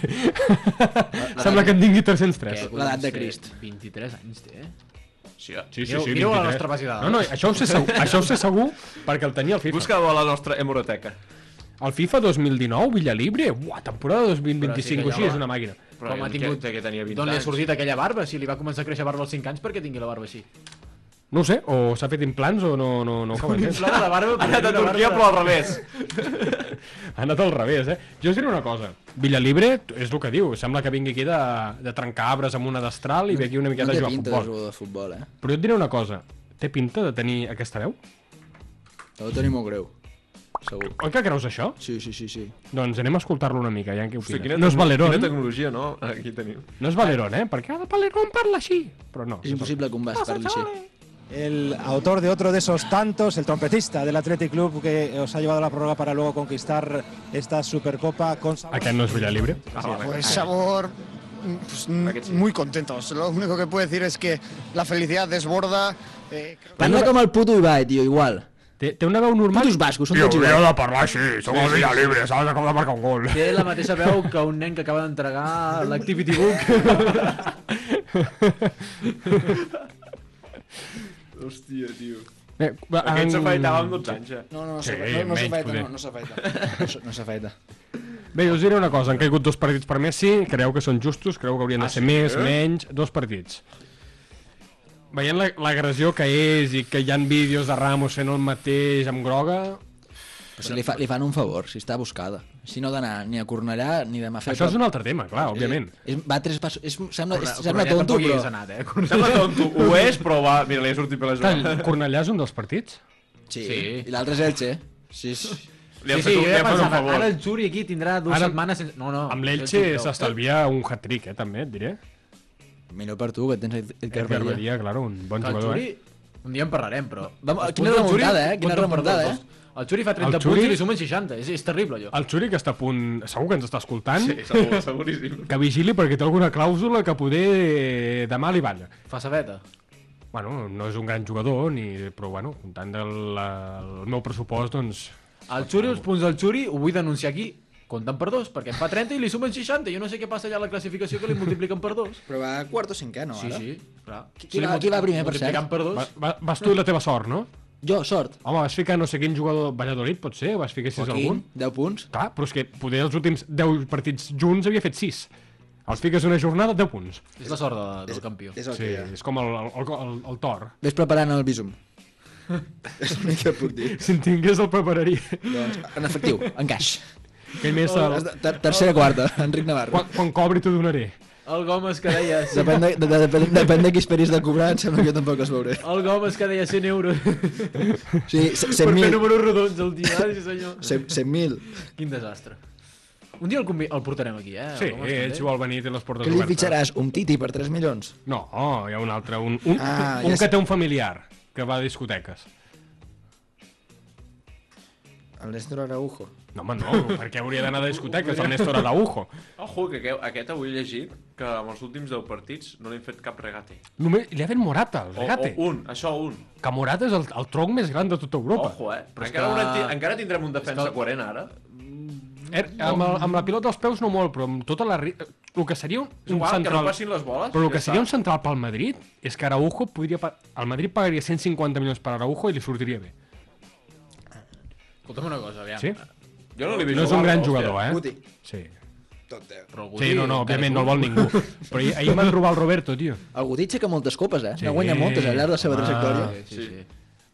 Speaker 1: Sembla que en tingui
Speaker 5: Eh,
Speaker 1: 303.
Speaker 6: L'edat de Crist.
Speaker 5: 23 anys té, eh?
Speaker 4: sí. eh?
Speaker 1: Sí,
Speaker 5: Mireu- mireu a la nostra base de dades.
Speaker 1: No, no, això ho sé segur, això ho sé segur perquè el tenia el FIFA.
Speaker 4: Busca a la nostra hemeroteca.
Speaker 1: El FIFA 2019, Villalibre, uah, temporada 2025 o
Speaker 5: Però sí que
Speaker 1: així,
Speaker 5: ja
Speaker 1: és
Speaker 5: va.
Speaker 1: una màquina.
Speaker 4: Però
Speaker 5: Com ha
Speaker 4: que-
Speaker 5: tingut...
Speaker 4: que tenia 20
Speaker 5: D'on li ha
Speaker 4: anys.
Speaker 5: sortit aquella barba? Si li va començar a créixer barba als 5 anys, perquè tingui la barba així.
Speaker 1: No ho sé, o s'ha fet implants o no, no, no ho acabo d'entendre.
Speaker 5: Inflada la barba,
Speaker 4: Ha anat a Turquia, però al revés.
Speaker 1: Ha anat al revés, eh? Jo us diré una cosa. Villalibre és el que diu. Sembla que vingui aquí de, de trencar arbres amb una destral i ve aquí una miqueta
Speaker 6: no
Speaker 1: a
Speaker 6: té
Speaker 1: jugar a
Speaker 6: pinta de
Speaker 1: futbol.
Speaker 6: jugador de futbol, eh?
Speaker 1: Però jo et diré una cosa. Té pinta de tenir aquesta veu?
Speaker 6: Ho tenim molt greu. Segur.
Speaker 1: Oi que creus això?
Speaker 6: Sí, sí, sí, sí.
Speaker 1: Doncs anem a escoltar-lo una mica, ja en què
Speaker 4: Hosti,
Speaker 1: opines.
Speaker 4: quina
Speaker 1: No és eh?
Speaker 4: tecno-
Speaker 1: Valerón,
Speaker 4: Quina tecnologia, no? Aquí tenim.
Speaker 1: no és Valerón, eh? Perquè ara Valerón parla així. Però no.
Speaker 6: És impossible que un basc parli així.
Speaker 7: El autor de otro de esos tantos, el trompetista del Athletic Club que os ha llevado a la prórroga para luego conquistar esta Supercopa con sabor.
Speaker 1: Aquest no és Villalibre.
Speaker 8: Pues sabor, mm, pues, mm,
Speaker 4: Paquete, sí.
Speaker 8: muy contentos. Lo único que puedo decir es que la felicidad desborda. eh, creo-
Speaker 6: Parla com el puto Ibai, tio, igual.
Speaker 1: Té, té una veu normal.
Speaker 6: Putos bascos, són tots iguals.
Speaker 1: de parlar així, som el Villa Libre, saps? Acaba de marcar un gol.
Speaker 5: Té la mateixa veu que un nen que acaba d'entregar l'activity book.
Speaker 4: Hòstia, tio.
Speaker 1: Bé, va,
Speaker 4: Aquest
Speaker 1: en-
Speaker 4: s'afaitava amb 12 anys, eh? ja.
Speaker 6: No, no, no
Speaker 1: Sí,
Speaker 6: s'afaita, no, no
Speaker 1: menys
Speaker 6: s'afaita,
Speaker 1: poder.
Speaker 6: no, no s'afaita. No s- No s'afaita.
Speaker 1: Bé, us diré una cosa, han caigut dos partits per Messi, creu que són justos, creu que haurien de ser més, menys, dos partits. Veient la- l'agressió que és i que hi han vídeos de Ramos fent el mateix amb groga,
Speaker 6: Però si li, fa, li fan un favor, si està buscada. Si no d'anar ni a Cornellà ni demà a fer...
Speaker 1: això és un altre tema, clar, òbviament.
Speaker 6: És, va tres passos... És, sembla, és,
Speaker 5: Cornellà
Speaker 6: sembla tonto,
Speaker 5: tampoc hi
Speaker 6: però...
Speaker 5: hagués anat, eh? Cornellà.
Speaker 4: Sembla tonto, ho és, però va, mira, li ha sortit per la jugada.
Speaker 1: Clar, Cornellà és un dels partits?
Speaker 6: Sí.
Speaker 5: Sí.
Speaker 6: I l'altre és Elche. Sí, sí.
Speaker 4: Li
Speaker 5: Sí,
Speaker 4: han fet
Speaker 5: jo
Speaker 4: un, li
Speaker 5: ja
Speaker 4: han fet un
Speaker 5: pensava,
Speaker 4: favor.
Speaker 5: ara el Juri aquí tindrà dues
Speaker 1: Ara-
Speaker 5: setmanes sense... No, no.
Speaker 1: Amb
Speaker 5: això
Speaker 1: l'Elche
Speaker 5: és un prou.
Speaker 1: s'estalvia un hat-trick, eh, també, et diré.
Speaker 6: Millor per tu, que tens el, el
Speaker 1: Edgar
Speaker 6: Carmelia.
Speaker 1: Badia, claro, un bon
Speaker 5: Que El
Speaker 1: jugador,
Speaker 5: Juri...
Speaker 1: eh?
Speaker 5: Un dia en parlarem, però...
Speaker 6: Vam-
Speaker 5: Els
Speaker 6: quina
Speaker 5: punts del
Speaker 6: remuntada,
Speaker 5: Juri
Speaker 6: eh? Quina
Speaker 5: compten per
Speaker 6: remuntada,
Speaker 5: tots dos. eh? El Xuri fa 30
Speaker 1: El
Speaker 5: punts
Speaker 1: Juri-
Speaker 5: i li sumen 60. És, és terrible, allò.
Speaker 1: eh. El Xuri, que està a punt... Segur que ens està escoltant.
Speaker 4: Sí, segur, seguríssim.
Speaker 1: Que vigili perquè té alguna clàusula que poder eh, demà li balla.
Speaker 5: Fa sabeta.
Speaker 1: Bueno, no és un gran jugador, ni... però bueno, comptant del el meu pressupost, doncs...
Speaker 5: El Xuri, els punts del Xuri, ho vull denunciar aquí, compten per dos, perquè en fa 30 i li sumen 60. Jo no sé què passa allà a la classificació que li multipliquen per dos.
Speaker 6: Però va quart o cinquè, no,
Speaker 5: Sí,
Speaker 6: ara?
Speaker 5: sí, clar.
Speaker 6: Qui- qui va- qui va primer, per cert?
Speaker 5: Multiplicant per
Speaker 1: Va,
Speaker 5: dos.
Speaker 1: va, vas tu i la teva sort, no?
Speaker 6: Jo, sort.
Speaker 1: Home, vas ficar no sé quin jugador Valladolid, pot ser? Vas ficar sis algun?
Speaker 6: 10 punts.
Speaker 1: Clar, però és que poder els últims 10 partits junts havia fet 6. Els fiques una jornada, 10 punts.
Speaker 5: És la sort de, del campió.
Speaker 6: És el
Speaker 1: Sí,
Speaker 6: que hi ha.
Speaker 1: és com el, el, el, el, el Thor.
Speaker 6: Ves preparant el bisum. és l'únic que puc dir.
Speaker 1: Si en tingués el prepararia.
Speaker 6: Doncs, en efectiu, en caix.
Speaker 1: Que més el...
Speaker 6: Has de- ter- Tercera, quarta, Enric Navarro.
Speaker 1: Quan, quan cobri t'ho donaré.
Speaker 4: Eh,
Speaker 5: El Gomes que deia...
Speaker 6: Depèn de, de, de, depèn, depèn de qui esperis de cobrar, em sembla que jo tampoc els veuré.
Speaker 5: El Gomes que deia 100 euros. per
Speaker 6: Sí,
Speaker 5: fer
Speaker 6: 100.000.
Speaker 5: números rodons el dia, eh, sí senyor.
Speaker 6: 100.000.
Speaker 5: Quin desastre. Un dia el, convi- el portarem aquí, eh? el
Speaker 1: Sí,
Speaker 5: Gomes
Speaker 1: ells
Speaker 5: també.
Speaker 1: vol venir i té les portes
Speaker 6: Que li
Speaker 1: obertes.
Speaker 6: fitxaràs un titi per 3 milions?
Speaker 1: No, oh, hi ha un altre, un, un, ah,
Speaker 6: Ah,
Speaker 1: un
Speaker 6: ja
Speaker 1: ja que
Speaker 6: sé.
Speaker 1: té un familiar que va a discoteques.
Speaker 6: El Néstor Araujo.
Speaker 1: No, home, no, per què hauria d'anar a discoteques el Néstor Araujo?
Speaker 4: Ojo, que aquest, aquest avui he llegit que en els últims 10 partits no li han fet cap regate.
Speaker 1: Només li ha fet Morata, el
Speaker 4: O,
Speaker 1: regate.
Speaker 4: o un, això un.
Speaker 1: Que Morata és el, el tronc més gran de tota Europa.
Speaker 4: oh. Ojo, eh? Però encara, que... ti encara tindrem un defensa coherent, ara.
Speaker 1: Er, amb, el, amb la pilota als peus no molt, però amb tota la... ri- El que seria un,
Speaker 4: És
Speaker 1: un
Speaker 4: igual, que
Speaker 1: central...
Speaker 4: no passin les boles.
Speaker 1: Però el
Speaker 4: ja
Speaker 1: que
Speaker 4: està.
Speaker 1: seria un central pel Madrid és que Araujo podria... pa- El Madrid pagaria 150 milions per Araujo i li sortiria bé.
Speaker 5: Escolta'm una cosa, aviam.
Speaker 1: Sí?
Speaker 4: Jo no l'he vist
Speaker 1: No és un
Speaker 4: jugar,
Speaker 1: gran
Speaker 4: hòstia.
Speaker 1: jugador, eh?
Speaker 6: Guti.
Speaker 1: Sí.
Speaker 5: Però el
Speaker 1: Sí,
Speaker 5: Guti
Speaker 1: no, no,
Speaker 5: encara
Speaker 1: òbviament
Speaker 5: és
Speaker 1: no el vol ningú. Però ahir, ahir van robar el Roberto, tio.
Speaker 6: El Guti aixeca moltes copes, eh?
Speaker 1: Sí.
Speaker 6: Sí. guanya moltes al llarg de la seva
Speaker 1: Home.
Speaker 6: trajectòria.
Speaker 5: Sí, sí, sí.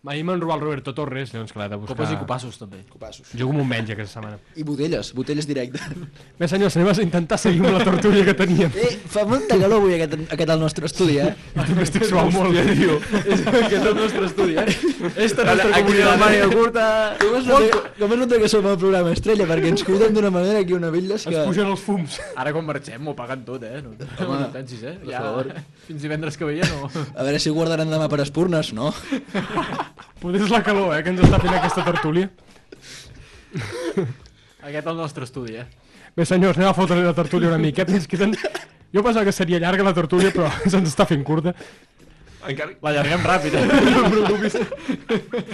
Speaker 1: Ahir van robar el Roberto Torres, llavors clar, de buscar...
Speaker 5: Copes i copassos, també.
Speaker 6: Passos.
Speaker 1: Jo com un menys aquesta setmana.
Speaker 6: I botelles, botelles directe.
Speaker 1: Bé, senyors, anem a intentar seguir amb la tortuga que teníem.
Speaker 6: Eh, fa molta calor avui aquest, aquest al nostre estudi, eh?
Speaker 1: M'estic suant molt bé, tio.
Speaker 5: és, que és el nostre estudi, eh? És la nostra
Speaker 4: Aquí
Speaker 5: comunitat.
Speaker 4: la màniga curta...
Speaker 6: Només nota, només nota que som el programa estrella, perquè ens cuiden d'una manera aquí una bitlles que...
Speaker 1: Ens pugen els fums.
Speaker 5: Ara quan marxem m'ho paguen tot, eh? No, Home, no pensis, eh? Ja,
Speaker 6: favor.
Speaker 5: fins divendres que ve ja no.
Speaker 6: A veure si guardaran demà per espurnes, no?
Speaker 1: Poder és la calor, eh, que ens està fent aquesta tertúlia.
Speaker 5: Aquest el nostre estudi, eh?
Speaker 1: Bé, senyors, anem a fotre la tertúlia una miqueta. Ens queden... Jo pensava que seria llarga la tertúlia, però se'ns està fent curta.
Speaker 4: Encara...
Speaker 5: L'allarguem ràpid, eh? No et preocupis.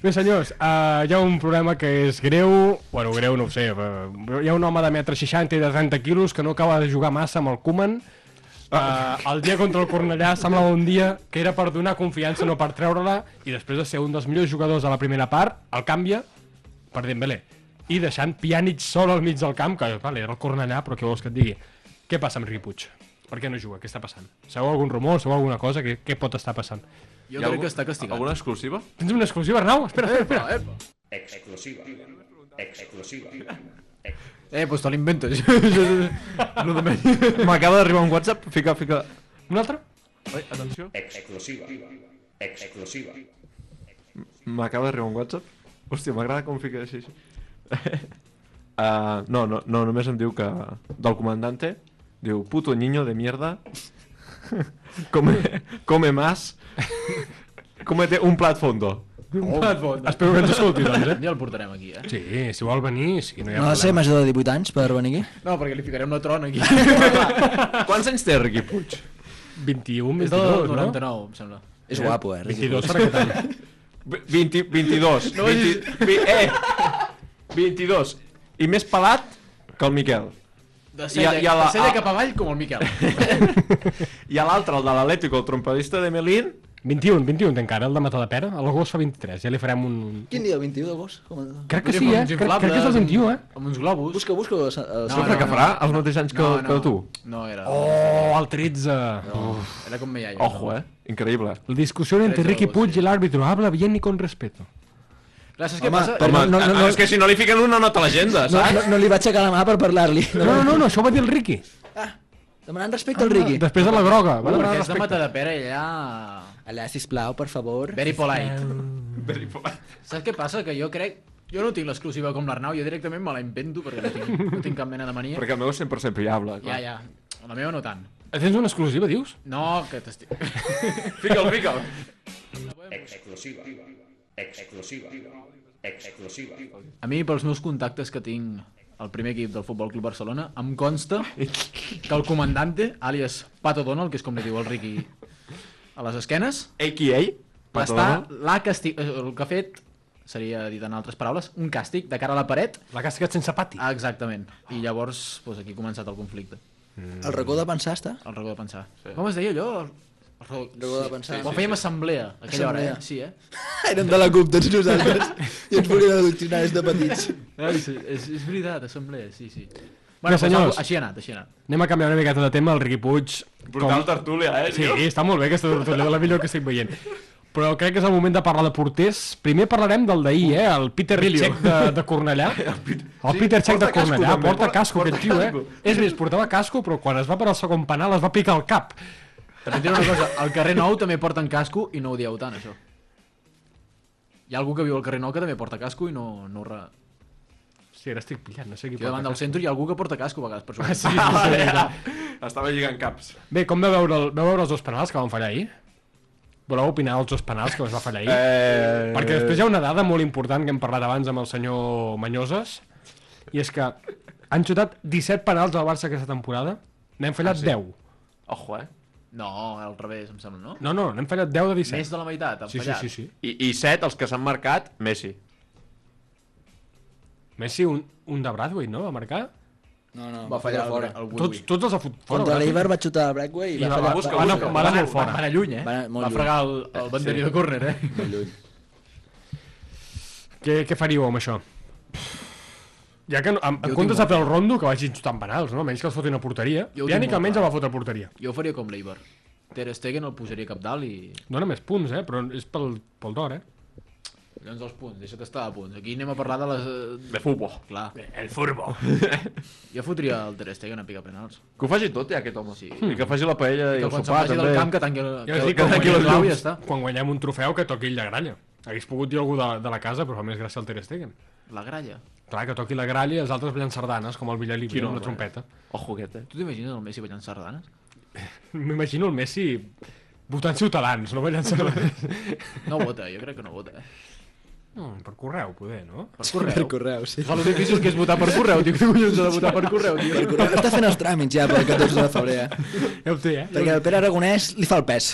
Speaker 1: Bé, senyors, uh, hi ha un problema que és greu... Bueno, greu no ho sé, eh, però hi ha un home de metre 60 i de 30 quilos que no acaba de jugar massa amb el Koeman. Uh, el dia contra el Cornellà semblava un dia que era per donar confiança, no per treure-la, i després de ser un dels millors jugadors de la primera part, el canvia per Dembélé. I deixant Pjanic sol al mig del camp, que vale, era el Cornellà, però què vols que et digui? Què passa amb Riqui Puig? Per què no juga? Què està passant? Sabeu algun rumor? Sabeu alguna cosa? Què, què pot estar passant?
Speaker 5: Jo crec que està castigat.
Speaker 4: Alguna exclusiva?
Speaker 1: Tens una exclusiva, Arnau? Espera, espera, espera.
Speaker 9: Exclusiva. Exclusiva.
Speaker 5: Eh, doncs te l'inventes. no de menys.
Speaker 4: M'acaba d'arribar un WhatsApp, fica, fica...
Speaker 1: Una altra?
Speaker 4: Ai, atenció.
Speaker 9: Exclusiva. Exclusiva.
Speaker 4: M'acaba d'arribar un WhatsApp. Hòstia, m'agrada com fica així. així. uh, no, no, no, només em diu que... Del comandante. Diu, puto niño de mierda. come, come más. Comete un plat fondo.
Speaker 1: Oh, Espero que ens escolti, doncs, eh?
Speaker 5: Ja el portarem aquí, eh?
Speaker 1: Sí, si vol venir, sí, no hi ha
Speaker 6: No ha de ser
Speaker 1: problema.
Speaker 6: major de 18 anys per venir aquí?
Speaker 5: No, perquè li ficarem la trona aquí.
Speaker 4: Quants anys té Riqui Puig?
Speaker 1: 21,
Speaker 5: És del
Speaker 1: 22, no?
Speaker 5: 99, em sembla.
Speaker 6: És guapo, eh?
Speaker 1: 22 per aquest any.
Speaker 4: 20, 22.
Speaker 5: No
Speaker 4: No
Speaker 5: vagis-
Speaker 4: 20, vi, eh! 22. I més pelat que el Miquel.
Speaker 5: De
Speaker 4: I
Speaker 5: cella,
Speaker 4: a- i a la-
Speaker 5: de cella
Speaker 4: a-
Speaker 5: cap avall com el Miquel.
Speaker 4: I a l'altre, el de l'Atlético, el trompedista de Melín,
Speaker 1: 21, 21 té encara, el de Matadepera. A l'agost fa 23, ja li farem un...
Speaker 6: Quin dia, el 21 d'agost? Com-
Speaker 1: Crec que
Speaker 5: Mira,
Speaker 1: sí,
Speaker 5: amb
Speaker 1: eh?
Speaker 5: uns
Speaker 1: Crec,
Speaker 5: inflables,
Speaker 1: crec que és el 21, eh?
Speaker 5: Amb uns globus.
Speaker 6: Busca, busca... eh,
Speaker 5: No,
Speaker 4: sempre
Speaker 5: no,
Speaker 4: que
Speaker 5: no.
Speaker 4: farà els mateixos anys que,
Speaker 5: No, no.
Speaker 4: que tu.
Speaker 5: No, era...
Speaker 1: Oh, el 13!
Speaker 5: Era con Mellayo.
Speaker 4: Ojo, eh? Increíble.
Speaker 1: La discusión entre Ricky Puig y el árbitro. Habla bien y con respeto.
Speaker 5: Clar, saps què
Speaker 6: Home,
Speaker 5: passa?
Speaker 6: però-
Speaker 4: Home,
Speaker 6: no, no,
Speaker 4: no, no,
Speaker 6: no.
Speaker 4: Ah, és que si no li fiquen una nota a l'agenda,
Speaker 6: No,
Speaker 4: saps?
Speaker 6: no, no li vaig aixecar la mà per parlar-li.
Speaker 1: No, no, no, no això ho va dir el Ricky.
Speaker 6: Demanant respecte al Riqui.
Speaker 1: Després de la groga. Va demanar
Speaker 5: Perquè és de
Speaker 1: respecte.
Speaker 5: Matadepera i allà...
Speaker 6: Allà, sisplau, per favor.
Speaker 5: Very polite. Saps què passa? Que jo crec... Jo no tinc l'exclusiva com l'Arnau, jo directament me la invento perquè no tinc, no tinc cap mena de mania.
Speaker 4: Perquè el meu és 100% fiable.
Speaker 5: Ja,
Speaker 4: clar.
Speaker 5: ja. La meva no tant.
Speaker 1: Tens una exclusiva, dius?
Speaker 5: No, que t'estic...
Speaker 4: Fica'l, fica'l.
Speaker 9: Exclusiva. Exclusiva. Exclusiva.
Speaker 5: A mi, pels meus contactes que tinc al primer equip del Futbol Club Barcelona, em consta que el comandante, alias Pato Donald, que és com li diu el Riqui a les esquenes,
Speaker 4: AKA?
Speaker 5: està l'ha castig... eh, El que ha fet, seria dit en altres paraules, un càstig de cara a la paret.
Speaker 1: La que has quedat sense pati.
Speaker 5: Ah, exactament. I llavors, doncs, aquí ha començat el conflicte.
Speaker 6: El racó de pensar està?
Speaker 5: El racó de pensar. Sí. Com es deia allò? El... El racó
Speaker 6: Racó de pensar.
Speaker 5: Quan fèiem assemblea, aquella
Speaker 6: Assemblea.
Speaker 5: hora, eh? Sí, eh?
Speaker 6: Érem Ah, de la CUP tots nosaltres i ens volien adoctrinar des de petits.
Speaker 5: Ai, sí, Ah, és, és veritat, assemblea, sí, sí.
Speaker 1: Bé,
Speaker 5: Bueno,
Speaker 1: senyors.
Speaker 5: senyors. Així ha anat, així ha anat.
Speaker 1: Anem a canviar una miqueta de tema. El Riqui Puig...
Speaker 4: Brutal tertúlia, eh,
Speaker 1: Sí,
Speaker 4: tio?
Speaker 1: està molt bé aquesta tertúlia, de la millor que estic veient. Però crec que és el moment de parlar de porters. Primer parlarem del d'ahir, eh? El Peter Check de, de Cornellà. El Peter Check
Speaker 4: porta
Speaker 1: de
Speaker 4: casco,
Speaker 1: Cornellà.
Speaker 4: també.
Speaker 1: Porta
Speaker 4: Porta-
Speaker 1: casco aquest
Speaker 4: porta
Speaker 1: tio, eh?
Speaker 4: casco.
Speaker 1: És més, portava casco, però quan es va per al segon penal es va picar el cap.
Speaker 5: També et diré una cosa, al carrer Nou també porten casco i no ho dieu tant, això. Hi ha algú que viu al carrer Nou que també porta casco i no... no re...
Speaker 1: Sí, ara estic pillant, no sé qui
Speaker 5: Aquí davant
Speaker 1: porta
Speaker 5: del centre hi ha algú que porta casco a vegades per sobre.
Speaker 1: Sí, sí, sí, veritat.
Speaker 4: Estava lligant caps.
Speaker 1: Bé, com veu veure, el, veu veure els dos penals que van fallar ahir? Voleu opinar dels dos penals que es va fallar ahir?
Speaker 4: Eh...
Speaker 1: Perquè després hi ha una dada molt important que hem parlat abans amb el senyor Manyoses, i és que han xutat 17 penals al Barça aquesta temporada, n'hem fallat ah, sí? 10.
Speaker 4: Ojo, eh?
Speaker 5: No, al revés, em sembla, no?
Speaker 1: No, no, n'hem fallat 10 de 17.
Speaker 5: Més de la meitat, han
Speaker 1: sí, sí,
Speaker 5: fallat.
Speaker 1: sí, sí.
Speaker 4: I, i set, els que s'han marcat, Messi.
Speaker 1: Messi, un, un de Bradway, no? Va marcar?
Speaker 6: No, no,
Speaker 5: Va fallar fora.
Speaker 6: fora.
Speaker 5: El, el
Speaker 1: Tots,
Speaker 5: Tots...
Speaker 1: tots els ha fotut fora.
Speaker 6: Contra
Speaker 1: Bradway.
Speaker 6: l'Eibar va xutar a Brackway
Speaker 1: I
Speaker 6: i va
Speaker 1: va,
Speaker 6: fallar...
Speaker 1: va,
Speaker 6: va-
Speaker 1: busca,
Speaker 6: va-
Speaker 1: busca.
Speaker 6: va-
Speaker 1: va anar molt
Speaker 5: Va
Speaker 1: fora.
Speaker 5: anar lluny, eh?
Speaker 6: Va anar molt
Speaker 5: Va
Speaker 6: lluny.
Speaker 5: fregar el, el banderí sí. de córner, eh?
Speaker 6: Molt lluny.
Speaker 1: Què, què faríeu amb això? Ja que, no- en, en comptes de fer el rondo, que vagin xutant penals, no? Almenys que els fotin a porteria.
Speaker 5: Jo ho tinc
Speaker 1: Pjanic
Speaker 5: molt
Speaker 1: almenys
Speaker 5: clar.
Speaker 1: el va fotre a porteria.
Speaker 5: Jo ho faria com l'Eibar. Ter Stegen el posaria cap dalt i...
Speaker 1: Dóna més punts, eh? Però és pel, pel d'or, eh?
Speaker 5: Llavors els punts, deixa't estar a punts. Aquí anem a parlar de les... eh,
Speaker 4: De futbol.
Speaker 5: Clar,
Speaker 1: El furbo.
Speaker 5: jo fotria el Ter Stegen a picar penals.
Speaker 4: Que ho faci tot, eh, aquest home.
Speaker 5: Sí.
Speaker 4: I que faci la paella i
Speaker 5: Que
Speaker 4: el
Speaker 5: quan se'n
Speaker 4: sopar,
Speaker 5: vagi
Speaker 4: també.
Speaker 5: del camp que tanqui el,
Speaker 1: Jo
Speaker 5: que,
Speaker 1: dic
Speaker 5: que
Speaker 1: que
Speaker 5: tanqui el
Speaker 1: guanyem,
Speaker 5: blau i ja
Speaker 1: llums,
Speaker 5: està.
Speaker 1: quan guanyem un trofeu que toqui la gralla. Hagués pogut dir algú de, de la casa, però fa més gràcia el Ter Stegen.
Speaker 5: La gralla.
Speaker 1: Clar, que toqui la gralla i els altres ballant sardanes, com el Villalí,
Speaker 4: Quin
Speaker 1: amb
Speaker 4: home,
Speaker 1: la trompeta.
Speaker 4: Ojo aquest, eh?
Speaker 5: Tu t'imagines el Messi ballant sardanes?
Speaker 1: M'imagino el Messi votant ciutadans, no ballant sardanes.
Speaker 5: No vota, jo crec que no vota. eh?
Speaker 1: no, per correu, poder, no?
Speaker 5: Per correu.
Speaker 6: Per correu, sí.
Speaker 5: Fa lo difícil que és votar per correu, tio. Que collons ha de votar per correu,
Speaker 6: Per
Speaker 5: tio?
Speaker 6: correu. Està fent els tràmits ja pel 14 de febrer, eh?
Speaker 1: Ja ho té, eh?
Speaker 6: Perquè el Pere Aragonès li fa el pes.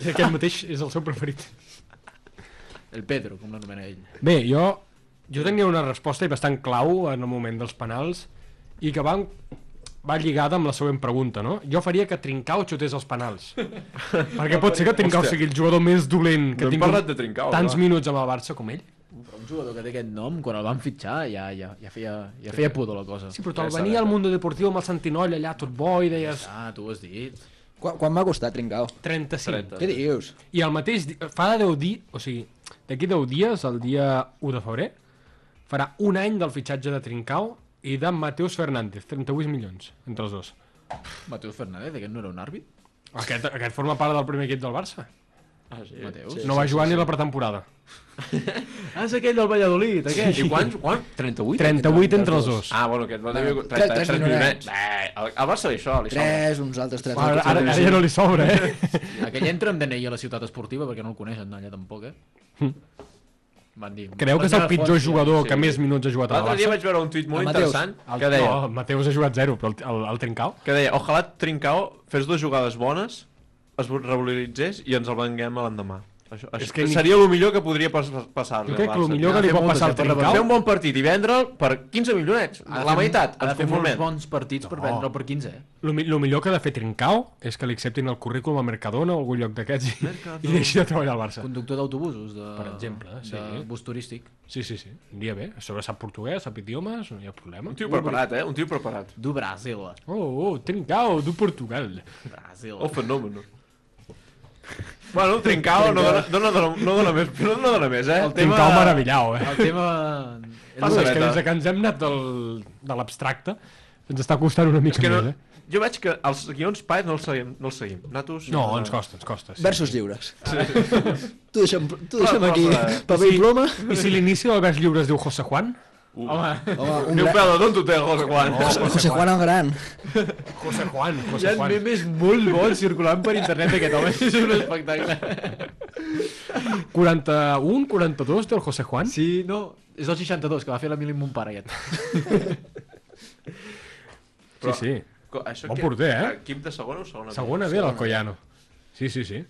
Speaker 1: I Aquest mateix és el seu preferit.
Speaker 5: El Pedro, com l'anomena ell.
Speaker 1: Bé, jo, jo tenia una resposta i bastant clau en el moment dels penals i que va, va lligada amb la següent pregunta, no? Jo faria que Trincao xutés els penals. perquè pot ser que Trincao
Speaker 4: Hòstia.
Speaker 1: sigui el jugador més dolent que
Speaker 4: No hem
Speaker 1: tingui
Speaker 4: parlat de Trincao,
Speaker 1: tants
Speaker 4: clar.
Speaker 1: minuts amb el Barça com ell.
Speaker 5: Però un jugador que té aquest nom, quan el van fitxar, ja, ja, ja feia, ja feia pudor la cosa.
Speaker 1: Sí, però te'l venia al Mundo Deportivo amb el Santinoll allà tot bo i deies
Speaker 5: Ah, tu ho has dit.
Speaker 6: Quan, quan va costar, Trincao?
Speaker 1: 35.
Speaker 6: Què dius?
Speaker 1: I el mateix, di- fa 10 dies, o sigui, d'aquí 10 dies, el dia 1 de febrer, farà un any del fitxatge de Trincao i de Mateus Fernández, 38 milions, entre els dos.
Speaker 5: Mateus Fernández, aquest no era un àrbit?
Speaker 1: Aquest, aquest forma part del primer equip del Barça.
Speaker 4: Ah, sí.
Speaker 5: Mateus?
Speaker 1: no va jugar ni la pretemporada.
Speaker 5: Ah, és aquell del Valladolid, aquest.
Speaker 4: I quants? Quan? 38?
Speaker 1: 38 entre els dos.
Speaker 4: Ah, bueno, aquest va tenir
Speaker 6: Bueno,
Speaker 4: 30,
Speaker 6: tres
Speaker 4: 3
Speaker 6: milionets.
Speaker 4: milionets. Eh, al al Barça li això, li sobra.
Speaker 6: Tres, uns altres tres.
Speaker 1: Ara, ara, ara ja no li sobra, eh?
Speaker 5: Aquell entra amb DNI a la ciutat esportiva, perquè no el coneixen allà tampoc, eh? Van dir...
Speaker 1: Creu que és el pitjor jugador
Speaker 4: sí.
Speaker 1: que més minuts ha jugat al
Speaker 4: L'altre dia
Speaker 1: Barça?
Speaker 4: vaig veure un tuit molt
Speaker 6: El Mateus.
Speaker 4: interessant
Speaker 1: El,
Speaker 4: que deia,
Speaker 1: no, el Mateus ha jugat zero, però el, el, el Trincao?
Speaker 4: que deia ojalà Trincao fes dues jugades bones, es revaloritzés i ens el venguem l'endemà. Això, això
Speaker 1: És
Speaker 4: que
Speaker 1: que ni-
Speaker 4: seria el millor que podria pas, pas- passar-li.
Speaker 1: Jo crec
Speaker 4: al
Speaker 1: que el
Speaker 4: Barça.
Speaker 1: millor que li
Speaker 5: Fer
Speaker 1: pot
Speaker 5: moltes,
Speaker 1: passar
Speaker 5: eh,
Speaker 1: al
Speaker 5: per la
Speaker 1: Trincao...
Speaker 4: Fer un bon partit i vendre'l per 15 milionets.
Speaker 5: Ha de
Speaker 4: la
Speaker 5: fer-
Speaker 4: meitat,
Speaker 5: Ha de
Speaker 4: ens
Speaker 5: fer molts
Speaker 4: conformem.
Speaker 5: bons partits per vendre'l per 15, eh?
Speaker 1: El mi- el millor que ha de fer Trincao és que li acceptin el currículum a Mercadona o algun lloc d'aquests i, i deixi de treballar al Barça.
Speaker 5: Conductor d'autobusos, de...
Speaker 1: Per exemple, sí.
Speaker 5: De bus turístic.
Speaker 1: Sí, sí, sí. Aniria bé. A sobre sap portuguès, sap idiomes, no hi ha problema.
Speaker 4: Un tio preparat, eh? Un tio preparat.
Speaker 5: Du Brasil.
Speaker 1: Oh, oh, Trincao, du Portugal.
Speaker 5: Brasil.
Speaker 4: O fenòmeno. Bueno, Trincao no dona, no, dona, no dona més, no dona més, eh?
Speaker 5: El tema-
Speaker 1: Trincao meravillau, eh?
Speaker 5: El tema...
Speaker 4: Passa
Speaker 1: és que
Speaker 4: neta.
Speaker 1: des que ens hem anat del, de l'abstracte, ens està costant una mica
Speaker 4: És que no,
Speaker 1: més, eh?
Speaker 4: jo veig que els guions paets no els seguim. No els seguim. eh? Natos...
Speaker 1: No,
Speaker 5: Ah.
Speaker 1: ens costa, ens costa. Sí. eh?
Speaker 6: Versos lliures. Tu deixa'm, tu deixa'm
Speaker 4: Clar,
Speaker 6: aquí
Speaker 4: clar, clar.
Speaker 6: paper i ploma.
Speaker 1: I si l'inici del vers lliure es diu José Juan?
Speaker 5: Uh. Oh.
Speaker 6: Home, un
Speaker 4: Diu,
Speaker 6: gran...
Speaker 4: però, d'on tu té, José Juan?
Speaker 6: José Juan el Gran.
Speaker 1: José Juan,
Speaker 5: Hi ha
Speaker 1: José Juan.
Speaker 5: memes molt bons circulant per internet d'aquest home. És un espectacle.
Speaker 1: 41, 42 té el José Juan?
Speaker 5: Sí, no... És el 62, que va fer la mili amb mon pare, aquest.
Speaker 1: sí. sí.
Speaker 4: Co- Això
Speaker 1: Bon
Speaker 4: que-
Speaker 1: porter, eh?
Speaker 4: Equip de segona o segona?
Speaker 1: Segona ve l'Alcoyano. Sí, sí, sí.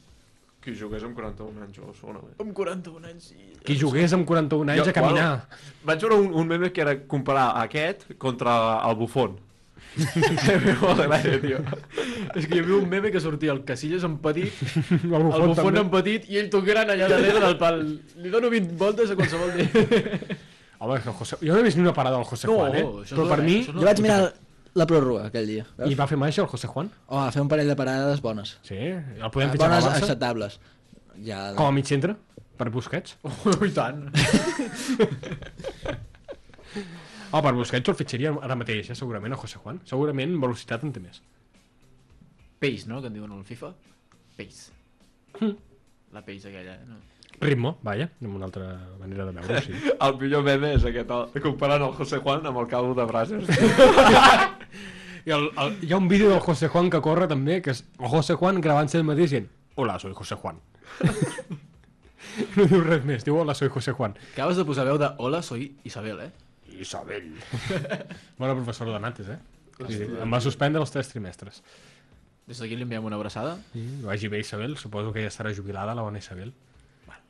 Speaker 4: Que jugués amb 41 anys o segona B.
Speaker 5: Amb 41 anys i...
Speaker 1: Qui jugués amb 41 anys
Speaker 4: Jo-
Speaker 1: a caminar.
Speaker 4: Bueno, vaig veure un, un meme que era comparar aquest contra el bufón. Molta gràcia, tio.
Speaker 5: És que hi havia un meme que sortia el Casillas en petit,
Speaker 1: El
Speaker 5: el Buffon en petit i ell tocant allà darrere del pal. Li dono 20 voltes a qualsevol dia.
Speaker 1: Home, és que el José... jo no he vist ni una parada del José
Speaker 5: No,
Speaker 1: Juan, eh?
Speaker 5: això és
Speaker 1: Però per
Speaker 5: dolent,
Speaker 1: mi...
Speaker 5: això és
Speaker 6: Jo vaig mirar la pròrroga aquell dia.
Speaker 1: I
Speaker 6: Veus?
Speaker 1: va fer màgia el José Juan?
Speaker 6: Home, fer un parell de parades bones.
Speaker 1: Sí? El podem fitxar
Speaker 6: Bones
Speaker 1: al Barça?
Speaker 6: acceptables. Ja...
Speaker 1: Com a mig centre? Per Busquets?
Speaker 5: Oh, I tant.
Speaker 1: Oh, per Busquets el fitxaria ara mateix, eh? segurament, a José Juan. Segurament velocitat en té més.
Speaker 5: Pace, no? Que en diuen al FIFA. Pace.
Speaker 1: Hm.
Speaker 5: La Pace aquella, eh? no?
Speaker 1: Ritmo, vaja, amb una altra manera de veure-ho, sí.
Speaker 4: El millor meme és aquest, el, comparant el José Juan amb el cabo de Brases.
Speaker 1: I el, el, hi ha un vídeo del José Juan que corre també, que és el José Juan gravant-se el mateix dient Hola, soy José Juan. no diu res més, diu hola, soy José Juan.
Speaker 5: Acabes de posar veu de Hola, soy Isabel, eh?
Speaker 1: Isabel. Bona professora de mates, eh? Sí, em va suspendre els tres trimestres.
Speaker 5: Des d'aquí li enviem una abraçada.
Speaker 1: Que Vagi bé, Isabel. Suposo que ja estarà jubilada, la bona Isabel.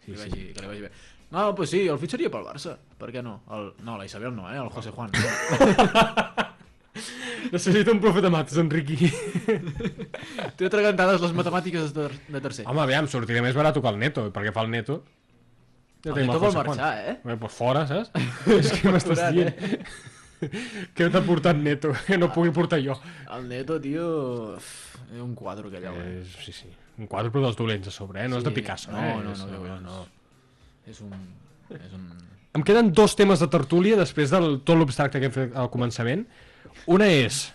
Speaker 5: Que li vagi, que li vagi bé. No, doncs pues sí, el fitxaria pel Barça. Per què no? El, no, la Isabel no, eh? El José Juan. No.
Speaker 1: Necessito un profe de mates, Enriqui.
Speaker 5: Té atragantades les matemàtiques de, ter de tercer.
Speaker 1: Home, aviam, sortiré més barat que el Neto, perquè fa el Neto... Ja
Speaker 5: El
Speaker 1: tenim
Speaker 5: Neto vol
Speaker 1: José Juan.
Speaker 5: marxar, eh?
Speaker 1: Bé, pues fora, saps? És que m'estàs
Speaker 5: Aturat,
Speaker 1: dient.
Speaker 5: eh?
Speaker 1: que t'ha portat Neto, que no pugui portar jo.
Speaker 5: El Neto, tio... uf, És un quadro, aquell home.
Speaker 1: Eh, sí, sí. Un quadre però dels dolents a sobre, eh? No és de
Speaker 5: Sí,
Speaker 1: Picasso,
Speaker 5: no,
Speaker 1: eh?
Speaker 5: no,
Speaker 1: És-
Speaker 5: no, que
Speaker 1: no,
Speaker 5: collons.
Speaker 1: no.
Speaker 5: És un... És un...
Speaker 1: Em queden dos temes de tertúlia després del tot l'obstacle que hem fet al començament. Una és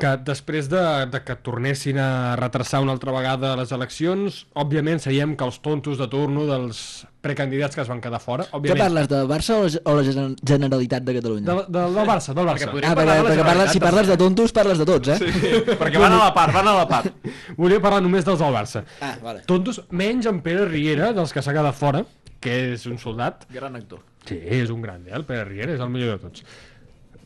Speaker 1: que després de, de que tornessin a retrasar una altra vegada les eleccions, òbviament seríem que els tontos de turno dels precandidats que es van quedar fora,
Speaker 6: Què
Speaker 1: òbviament...
Speaker 6: parles, de Barça o la- o la Gen- Generalitat de
Speaker 1: De,
Speaker 6: Catalunya?
Speaker 1: de, del Barça, del Barça.
Speaker 6: Ah, perquè, perquè parles, si parles de tontos, parles de tots, eh?
Speaker 4: Perquè van a la part, van a la part.
Speaker 1: Volia parlar només dels del Barça.
Speaker 6: Ah, vale.
Speaker 1: Tontos, menys en Pere Riera, dels que s'ha quedat fora, que és un soldat,
Speaker 5: Gran actor.
Speaker 1: Sí, és un grande, eh? el Pere Riera és el millor de tots.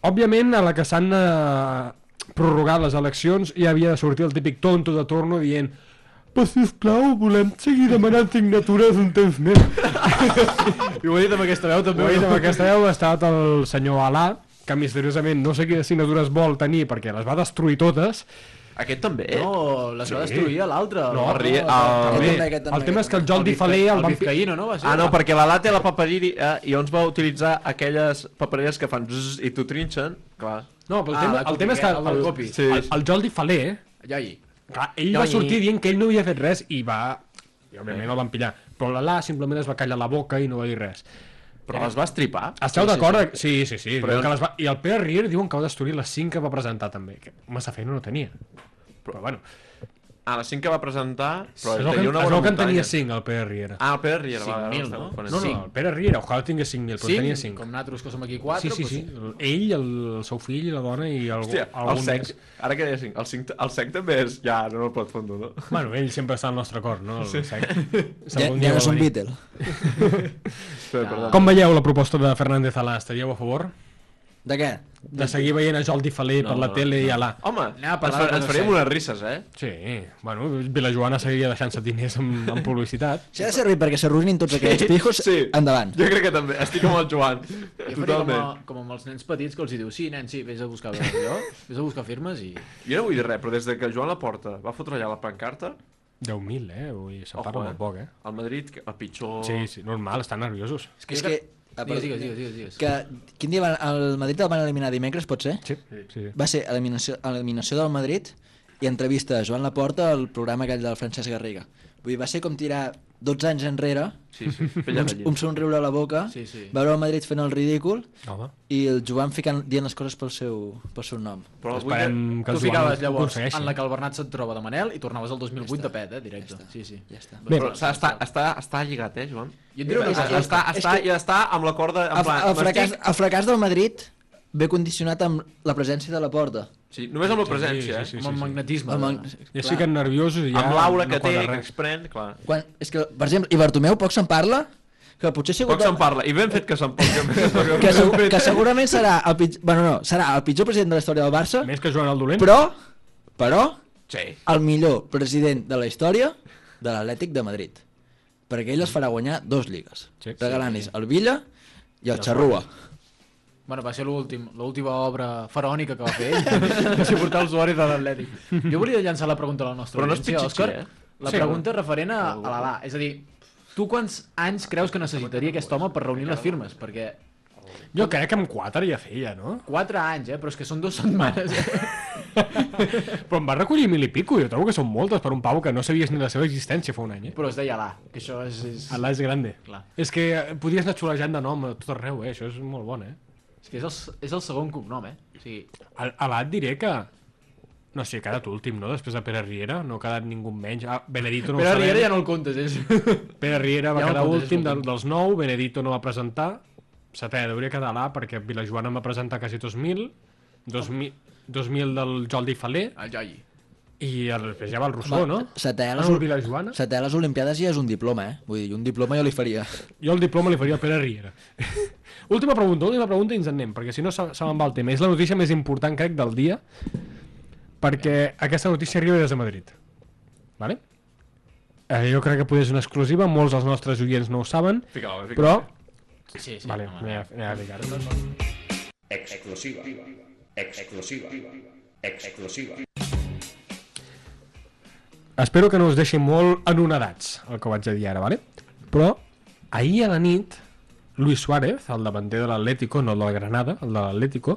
Speaker 1: Òbviament, a la que s'han eh, prorrogat les eleccions, hi havia de sortir el típic tonto de torno dient però sisplau, volem seguir demanant signatures un temps més.
Speaker 5: I ho he dit amb aquesta veu, també.
Speaker 1: Ho he dit amb aquesta veu ha estat el senyor Alà, que misteriosament no sé quines signatures vol tenir perquè les va destruir totes.
Speaker 4: Aquest també, eh?
Speaker 5: No, les va
Speaker 1: Sí.
Speaker 5: destruir a l'altre.
Speaker 1: No,
Speaker 5: el-
Speaker 4: Rie- el-
Speaker 6: Aquest
Speaker 1: Bé,
Speaker 6: també, aquest també,
Speaker 1: el tema és
Speaker 6: aquest
Speaker 1: que el Jordi Faler el van... fi-
Speaker 5: Vizcaíno, no? Va ser?
Speaker 4: Ah, no, perquè la lata i la paperiri, eh, i on es va utilitzar aquelles papereres que fan zzz i t'ho trinxen, clar.
Speaker 1: No, però el
Speaker 5: Ah,
Speaker 1: tema,
Speaker 5: la
Speaker 1: el tema és que
Speaker 5: copia, el del copi.
Speaker 1: el, el, el Jordi Faler
Speaker 5: Iai.
Speaker 1: Clar, ell va sortir dient que ell no havia fet res i va... I òbviament el van pillar. Però l'Alà simplement es va callar la boca i no va dir res.
Speaker 4: Però les va estripar?
Speaker 1: Esteu d'acord? Sí, sí, sí.
Speaker 4: Però-
Speaker 1: Però... Que les va... I el Pere Rier diuen que va destruir les 5 que va presentar també. Que massa feina no tenia. Però, bueno,
Speaker 4: Ah, les 5 que va presentar, però
Speaker 1: es
Speaker 4: es
Speaker 1: veu que,
Speaker 4: tenia
Speaker 1: es
Speaker 4: una
Speaker 1: veu
Speaker 4: bona
Speaker 1: que en
Speaker 4: muntanya.
Speaker 1: tenia 5 el Pere Riera.
Speaker 4: Ah, el Pere Riera, va, ara
Speaker 5: 5.000,
Speaker 4: estava
Speaker 5: no?
Speaker 4: confonent.
Speaker 1: no, no, el Pere Riera, ojalà tingués 5.000, però en tenia 5.
Speaker 5: Com nosaltres, que som aquí
Speaker 1: sí,
Speaker 5: 4.
Speaker 1: sí, sí. El- Ell, el, el seu fill, la dona i algú,
Speaker 4: Hòstia, el
Speaker 1: algun
Speaker 4: sec,
Speaker 1: més.
Speaker 4: ara que deia 5, el, 5, el sec també és... Ja, no el pot fondo, no?
Speaker 1: Bueno, ell sempre està al nostre cor, no? El sí. sec.
Speaker 6: Ja,
Speaker 1: Segon dia va
Speaker 6: ja no és un
Speaker 1: venir.
Speaker 6: Beatle.
Speaker 4: Espera, perdó.
Speaker 1: Com veieu la proposta de Fernández Alà? Estaríeu a favor?
Speaker 6: De què?
Speaker 1: De seguir veient a Jordi Faler no, per la tele no. i alà.
Speaker 4: Home,
Speaker 5: Anava a
Speaker 4: ens,
Speaker 5: parlar
Speaker 4: fa,
Speaker 5: de
Speaker 4: ens
Speaker 5: coses
Speaker 4: faríem
Speaker 5: serioses.
Speaker 4: unes risses, eh?
Speaker 1: Sí, bueno, Vilajoana seguia deixant-se diners en, en publicitat.
Speaker 6: Si ha de servir perquè s'arruïnin tots aquests pijos,
Speaker 4: Sí.
Speaker 6: endavant.
Speaker 4: Jo crec que també. Estic amb el Joan.
Speaker 5: Jo faria com, a,
Speaker 4: Totalment.
Speaker 5: com amb els nens petits que els hi diu sí, nen, sí, vés a buscar allò, vés a buscar firmes i...
Speaker 1: Ah,
Speaker 4: Jo no vull dir res, però des de que el Joan la porta va fotre allà la pancarta,
Speaker 1: 10.000, eh? Ui, se'n
Speaker 4: Ojo,
Speaker 1: parla
Speaker 4: eh?
Speaker 1: molt poc, eh? Oh.
Speaker 4: el Madrid, que- el pitjor...
Speaker 1: Sí, sí, normal, estan nerviosos.
Speaker 6: És que... És que ah,
Speaker 5: Digues,
Speaker 6: perdó.
Speaker 5: digues, digues, digues. digues.
Speaker 6: Que, quin dia van, el Madrid el van eliminar dimecres, pot ser?
Speaker 1: Sí, sí.
Speaker 6: Va ser eliminació, eliminació del Madrid i entrevista a Joan Laporta al programa aquell del Francesc Garriga. Vull dir, va ser com tirar 12 anys enrere,
Speaker 4: Sí, sí. Fella
Speaker 6: un,
Speaker 4: de llet.
Speaker 6: un somriure a la boca,
Speaker 5: Sí, sí.
Speaker 6: veure el Madrid fent el ridícul
Speaker 1: Home.
Speaker 6: i el Joan ficant, dient les coses pel seu, pel seu nom.
Speaker 4: Però avui
Speaker 1: Esperem que
Speaker 5: Tu
Speaker 1: el
Speaker 5: ficaves
Speaker 1: Joan
Speaker 5: llavors
Speaker 1: aconsegueixi.
Speaker 5: en la que el Bernat se't troba de Manel i tornaves al 2008 de pet, eh, directe.
Speaker 6: està.
Speaker 5: Sí, sí.
Speaker 6: Ja està.
Speaker 1: Bé,
Speaker 4: Però està, està, està, està lligat, eh, Joan?
Speaker 5: Jo et diré una
Speaker 4: Està,
Speaker 5: cosa.
Speaker 4: està, està, i està amb la corda... En
Speaker 6: El,
Speaker 4: plan,
Speaker 6: el, fracàs,
Speaker 4: m'estic-
Speaker 6: el fracàs del Madrid ve condicionat amb la presència de la porta.
Speaker 4: Sí, només amb la presència, eh?
Speaker 1: Sí, sí,
Speaker 5: Amb el
Speaker 1: sí.
Speaker 5: magnetisme.
Speaker 6: Amb,
Speaker 5: de-
Speaker 6: el-
Speaker 1: Ja sí que nerviosos i ja
Speaker 4: Amb l'aura que
Speaker 1: no
Speaker 4: té,
Speaker 1: quadra
Speaker 4: que
Speaker 1: res.
Speaker 4: expren, clar.
Speaker 6: quan, és que, per exemple, i Bartomeu poc se'n parla, que potser ha sigut...
Speaker 4: Poc se'n parla, i ben fet que se'n parla.
Speaker 6: que, segur, que segurament serà el pitjor, bueno, no, serà el pitjor president de la història del Barça,
Speaker 1: Més que Joan el Dolent.
Speaker 6: però, però,
Speaker 4: Sí.
Speaker 6: el millor president de la història de l'Atlètic de Madrid. Perquè ell els farà guanyar dos lligues.
Speaker 1: Sí.
Speaker 6: Regalant-los el Villa i el Xarrua.
Speaker 5: Bueno, va ser l'últim- l'última obra faraònica que va fer ell, de suportar els usuaris de l'Atlètic. Jo volia llançar la pregunta a la nostra
Speaker 4: Però no és
Speaker 5: audiència,
Speaker 4: pitxitxi,
Speaker 5: Òscar.
Speaker 4: eh?
Speaker 5: La
Speaker 1: Sí,
Speaker 5: pregunta referent a, a l'Alà. És a dir, tu quants anys creus que necessitaria aquest home per reunir les firmes? Perquè
Speaker 1: Jo crec que amb 4 ja feia, no?
Speaker 5: 4 anys, eh? Però és que són dues setmanes. eh?
Speaker 1: Però em va recollir mil i pico, jo trobo que són moltes per un pau que no sabies ni la seva existència fa un any, eh?
Speaker 5: Però es deia Alà, que això és... és...
Speaker 1: Alà és grande.
Speaker 5: Clar.
Speaker 1: És que eh, podies anar xulejant de nom a tot arreu, eh? Això és molt bon, eh?
Speaker 5: És que és el, és el segon cognom, eh? O sigui,
Speaker 1: Al- Alà et diré que... No sé, ha quedat últim, no? Després de Pere Riera, no ha quedat ningú menys. Ah, Benedito no
Speaker 5: Pere
Speaker 1: ho sabem.
Speaker 5: Riera ja no el comptes, és...
Speaker 1: Pere Riera va
Speaker 5: Ja
Speaker 1: ja
Speaker 5: no
Speaker 1: quedar
Speaker 5: comptes,
Speaker 1: últim
Speaker 5: és
Speaker 1: del,
Speaker 5: l'últim.
Speaker 1: dels 9, Benedito no va presentar, setè hauria quedar l'A perquè Vilajoana em va presentar quasi 2.000, 2.000, 2.000 del Jordi Faler
Speaker 5: El Joyi.
Speaker 1: i el, després ja va el Rousseau, no?
Speaker 6: Setè a,
Speaker 1: Ah,
Speaker 6: les,
Speaker 1: no, el
Speaker 6: Ol-
Speaker 1: Vilajoana?
Speaker 6: setè a les Olimpiades ja és un diploma, eh? Vull dir, un diploma jo li faria.
Speaker 1: Jo el diploma li faria a Pere Riera. última pregunta, última pregunta i ens en anem, perquè si no se, se me'n va el tema. És la notícia més important, crec, del dia, perquè aquesta notícia arriba des de Madrid. Vale? Eh, jo crec que potser és una exclusiva, molts dels nostres oients no ho saben,
Speaker 4: Fica-la, fica-la.
Speaker 1: però...
Speaker 5: Sí, sí.
Speaker 1: Vale,
Speaker 5: home.
Speaker 1: anem a, anem a ficar-ho.
Speaker 9: Exclusiva. Exclusiva. Exclusiva.
Speaker 1: Espero que no us deixi molt anonadats el que vaig a dir ara, vale? Però ahir a la nit, Luis Suárez, el davanter de l'Atlético, no el del Granada, el de l'Atlético,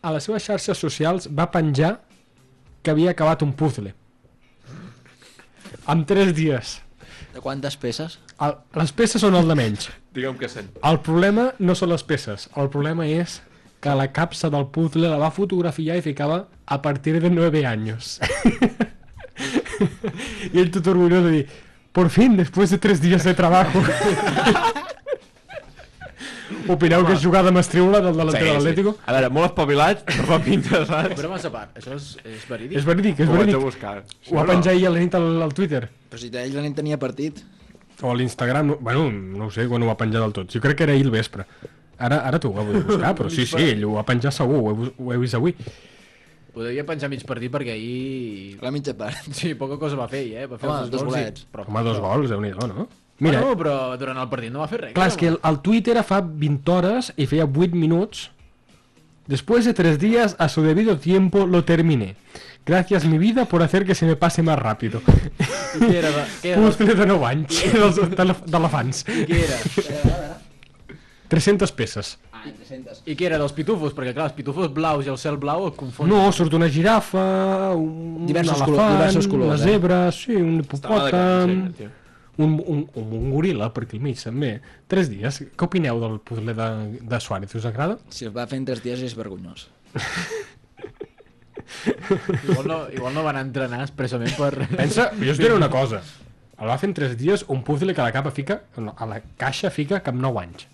Speaker 1: a les seves xarxes socials va penjar que havia acabat un puzzle. En tres dies.
Speaker 6: De quantes peces?
Speaker 1: El, les peces són el de menys.
Speaker 4: Digue'm què sent.
Speaker 1: El problema no són les peces, el problema és que la capsa del puzzle la va fotografiar i ficava a partir de 9 años. y el tutor orgulloso de dir, por fin, después de 3 dies de trabajo. Opineu que és jugada mestriula del delanter de l'Atlético?
Speaker 4: A veure, molt espavilat, repinta, saps?
Speaker 5: Però massa part, això és, és verídic.
Speaker 1: És verídic, és
Speaker 4: Ho vaig a
Speaker 1: verídic.
Speaker 4: buscar.
Speaker 1: Ho va penjar ahir a la nit al, al Twitter.
Speaker 6: Però si ells la nit tenia partit.
Speaker 1: O a l'Instagram, no, bueno, no ho sé quan ho va penjar del tot. Jo crec que era ahir al vespre. Ara, ara t'ho ho vull buscar, però sí, sí, ell ho va penjar segur, ho he, bus- ho he vist avui.
Speaker 5: Podria penjar mig partit perquè ahir...
Speaker 6: La mitja part.
Speaker 5: Sí, poca cosa va fer, ell, eh? Va fer
Speaker 6: Home,
Speaker 5: els
Speaker 6: dos
Speaker 5: gols
Speaker 6: golets.
Speaker 5: I... Però...
Speaker 1: Home, dos gols, déu nhi no?
Speaker 5: Mira,
Speaker 1: Mira,
Speaker 5: bueno, Ah, però durant el partit no va fer res.
Speaker 1: clar, és que el, el tuit era fa 20 hores i feia 8 minuts. Después de 3 días, a su debido tiempo, lo terminé. Gracias, mi vida, por hacer que se me pase más rápido.
Speaker 5: I Què era? de- Què era?
Speaker 1: Postre de 9 anys, dels de- d'elefants.
Speaker 5: I què era?
Speaker 1: 300 peces.
Speaker 6: Ah, 300.
Speaker 5: I què era dels pitufos? Perquè, clar, els pitufos blaus i el cel blau et confon.
Speaker 1: No, surt una girafa, un
Speaker 6: Diversos
Speaker 1: elefant,
Speaker 6: colors- diversos colors,
Speaker 1: una
Speaker 6: eh?
Speaker 1: zebra, sí, un hipopòtam,
Speaker 4: tio.
Speaker 1: un, un, un, un goril·la, per aquí al mig, també. 3 dies. Què opineu del puzzle de, de Suárez? Us agrada?
Speaker 6: Si es va fer en tres dies és vergonyós.
Speaker 5: Igual no, igual no van entrenar expressament per...
Speaker 1: Pensa, jo us diré una cosa. El va fer en 3 dies un puzzle que a la capa fica, no, a la caixa fica que amb 9 anys.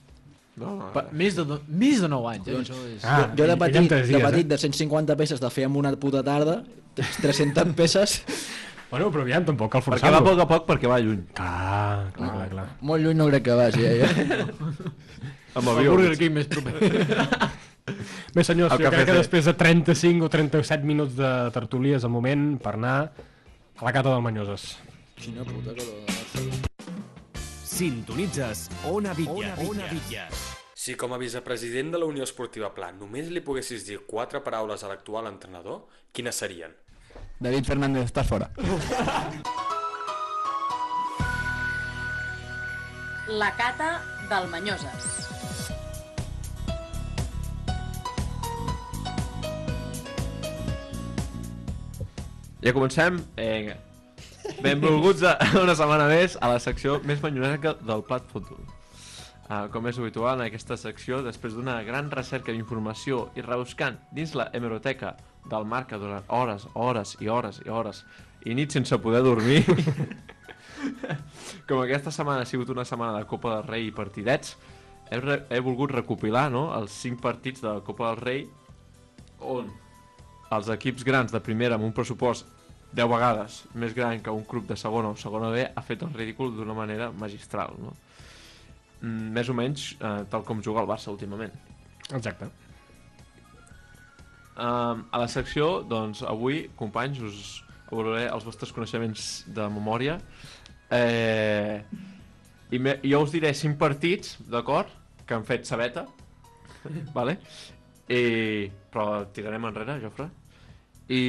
Speaker 5: per més, de do... més de 9 anys, eh? Això és...
Speaker 1: Ah,
Speaker 6: Jo
Speaker 1: ell-
Speaker 6: de
Speaker 1: ell en
Speaker 6: petit,
Speaker 1: tres
Speaker 6: de,
Speaker 1: dies, eh?
Speaker 6: petit de 150 peces de fer en una puta tarda, 300 peces,
Speaker 1: Eh? Bueno, però aviam, tampoc cal
Speaker 4: Perquè va a
Speaker 1: forçar-lo.
Speaker 4: poc a poc, perquè va lluny.
Speaker 1: Clar, clar, clar, clar.
Speaker 6: molt lluny no crec que vagi, eh?
Speaker 4: Amb
Speaker 5: El
Speaker 4: avió.
Speaker 5: Burger King més proper.
Speaker 1: Bé, senyors,
Speaker 4: El
Speaker 1: jo crec
Speaker 4: cafè
Speaker 1: que
Speaker 4: té.
Speaker 1: després de 35 o 37 minuts de tertúlia és el moment per anar a la cata del Manyoses.
Speaker 6: Quina puta calor.
Speaker 10: Sintonitzes Ona Villas. Ona Villas.
Speaker 11: Si com a vicepresident de la Unió Esportiva Pla només li poguessis dir quatre paraules a l'actual entrenador, quines serien?
Speaker 12: David Fernández, estás fora.
Speaker 13: La cata del Manyoses.
Speaker 4: Ja comencem? Vinga. Benvolguts a una setmana més a la secció més banyonesa del Plat Futbol. Uh, com és habitual en aquesta secció, després d'una gran recerca d'informació i rebuscant dins la hemeroteca del Marca durant hores, hores i hores i hores i nits sense poder dormir, com aquesta setmana ha sigut una setmana de Copa del Rei i partidets, he, re he volgut recopilar no, els 5 partits de la Copa del Rei on els equips grans de primera amb un pressupost 10 vegades més gran que un club de segona o segona B ha fet el ridícul d'una manera magistral, no? Mm, Més o menys eh, tal com juga el Barça últimament.
Speaker 1: Exacte.
Speaker 4: Um, a la secció, doncs, avui, companys, us avaluaré els vostres coneixements de memòria. Eh, i, me, jo us diré 5 partits, d'acord, que han fet sabeta, vale? I, però tirarem enrere, Jofre. I,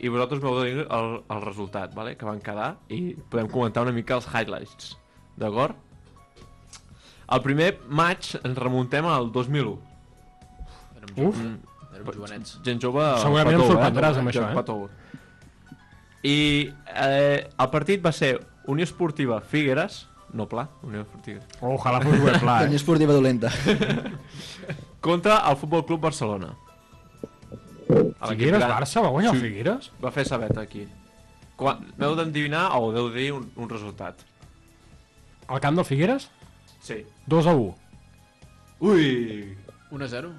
Speaker 4: i vosaltres m'heu de dir el, el resultat, vale? que van quedar, i podem comentar una mica els highlights, d'acord? El primer maig ens remuntem al 2001.
Speaker 5: Uf.
Speaker 4: Mm,
Speaker 5: Érem jovenets.
Speaker 4: Gent jove...
Speaker 1: Segurament
Speaker 4: Patou,
Speaker 1: em sorprendràs
Speaker 4: eh?
Speaker 1: amb això, eh?
Speaker 4: Patou. I eh, el partit va ser Unió Esportiva Figueres, no pla, Unió Esportiva.
Speaker 1: Ojalà fos web pla, eh.
Speaker 6: Tenia esportiva dolenta.
Speaker 4: Contra el Futbol Club Barcelona. A l'equip
Speaker 1: Figueres,
Speaker 4: gran.
Speaker 1: Barça, va guanyar el Figueres?
Speaker 4: Va fer sabeta aquí. Quan, m'heu d'endevinar o deu dir un, un resultat.
Speaker 1: Al camp del Figueres?
Speaker 4: Sí.
Speaker 1: 2 a 1.
Speaker 4: Ui!
Speaker 5: 1 a 0.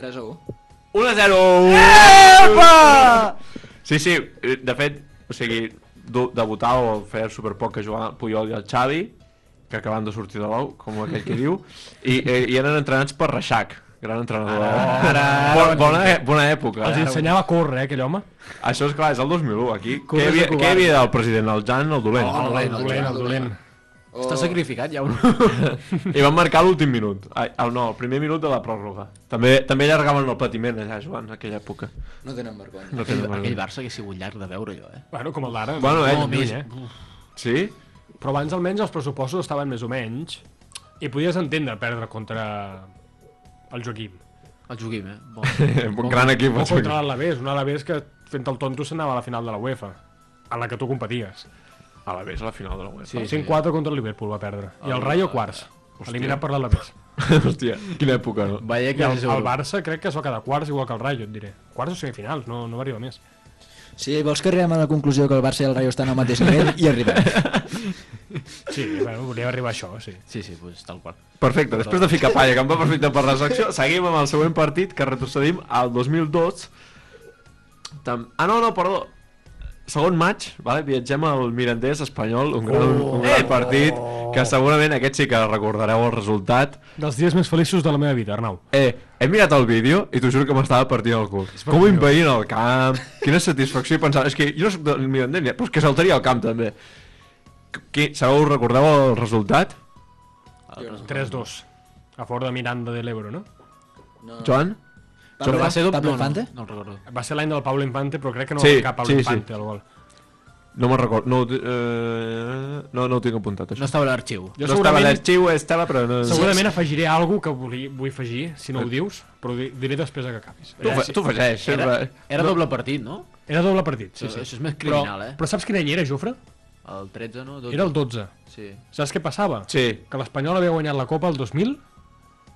Speaker 6: 3 a 1.
Speaker 4: 1 a 0!
Speaker 1: Eh,
Speaker 4: Epa! Sí, sí, eh, de fet, o sigui, du- debutar o fer superpoc que jugava el Puyol i el Xavi, que acaben de sortir de l'ou, com aquell que diu, i, i, i eren entrenats per Reixac, gran entrenador.
Speaker 1: Ara, ara,
Speaker 4: Bo-
Speaker 1: ara,
Speaker 4: bona,
Speaker 1: ara.
Speaker 4: bona època. eh?
Speaker 1: Els ensenyava a córrer, eh, aquell home.
Speaker 4: Això és clar, és el 2001, aquí.
Speaker 1: Corres
Speaker 4: Què hi havia,
Speaker 1: de
Speaker 4: què hi havia
Speaker 1: covard.
Speaker 4: del president? El Jan, el dolent.
Speaker 1: Oh, el dolent, el dolent, el dolent.
Speaker 5: Oh. Està sacrificat, ja.
Speaker 4: I van marcar l'últim minut. Ai, el, no, el primer minut de la pròrroga. També també allargaven el patiment allà, Joan, en aquella època.
Speaker 6: No tenen vergonya.
Speaker 4: No
Speaker 5: aquell,
Speaker 4: tenen vergonya.
Speaker 5: aquell Barça hauria sigut llarg de veure, allò, eh?
Speaker 1: Bueno, com el d'ara.
Speaker 4: Bueno, ell,
Speaker 1: no,
Speaker 4: lluny,
Speaker 1: més.
Speaker 4: eh? Sí?
Speaker 1: Però abans almenys els pressupostos estaven més o menys i podies entendre perdre contra el Joaquim.
Speaker 5: El Joaquim, eh? Bon,
Speaker 4: bon gran equip,
Speaker 1: O
Speaker 4: el Joaquim.
Speaker 1: contra l'Alavés, un Alavés que fent el tonto s'anava a la final de la UEFA, a la que tu competies.
Speaker 4: A la vés a la final de la UEFA.
Speaker 1: Sí, 5-4 contra el Liverpool va perdre. I el
Speaker 4: El-
Speaker 1: Rayo quarts,
Speaker 4: Hòstia.
Speaker 1: eliminat per l'Alavés.
Speaker 4: Hòstia, quina època, no?
Speaker 1: I
Speaker 5: Vaya
Speaker 1: el, el Barça crec que es va quedar quarts igual que el Rayo, et diré. Quarts o semifinals, no, no va arribar més.
Speaker 6: Sí, vols que arribem a la conclusió que el Barça i el Rayo estan al mateix nivell? I arribem.
Speaker 1: Sí, bueno, volia arribar a això, sí.
Speaker 5: Sí, sí, pues, tal qual.
Speaker 4: Perfecte, després de ficar palla, que em va perfecte per la secció, seguim amb el següent partit, que retrocedim al 2002. Tam... Ah, no, no, perdó. Segon maig, vale? viatgem al Mirandés espanyol, un gran, un gran partit, que segurament aquest sí que recordareu el resultat.
Speaker 1: Dels dies més feliços de la meva vida, Arnau.
Speaker 4: Eh, he mirat el vídeo i t'ho juro que m'estava partint el cul. Com ho envaïen el camp, quina satisfacció i pensava, és que jo no soc del Mirandés, però és que saltaria al camp també. Qui, sabeu, recordeu el resultat?
Speaker 1: 3-2. A favor de Miranda de l'Ebro, no?
Speaker 4: Joan?
Speaker 1: Joan, va ser doble
Speaker 5: Pablo
Speaker 1: o no?
Speaker 5: Infante? No, no, el recordo.
Speaker 1: Va ser l'any del Pablo Infante, però crec que no
Speaker 4: Sí,
Speaker 1: va cap Pablo
Speaker 4: sí, sí.
Speaker 1: Infante al gol.
Speaker 4: No me'n recordo. No, ho ti- eh, no, no ho tinc apuntat, això.
Speaker 5: No estava a l'arxiu.
Speaker 1: Jo
Speaker 4: no estava a
Speaker 1: segurament-
Speaker 4: l'arxiu, estava, però no...
Speaker 1: Segurament afegiré alguna que vull, vull afegir, si no ho dius, però ho di- diré després que acabis.
Speaker 4: Eh. Tu fa- tu afegeix,
Speaker 5: Era,
Speaker 4: sempre.
Speaker 5: era
Speaker 1: No.
Speaker 5: doble partit, no?
Speaker 1: Era doble partit, sí,
Speaker 5: Això-
Speaker 1: sí.
Speaker 5: això és més criminal,
Speaker 1: però,
Speaker 5: eh?
Speaker 1: Però saps quin any era, Jofre?
Speaker 5: El 13, no? 12.
Speaker 1: Era el 12.
Speaker 5: Sí.
Speaker 1: Saps què passava?
Speaker 4: Sí.
Speaker 1: Que l'Espanyol havia guanyat la Copa el 2000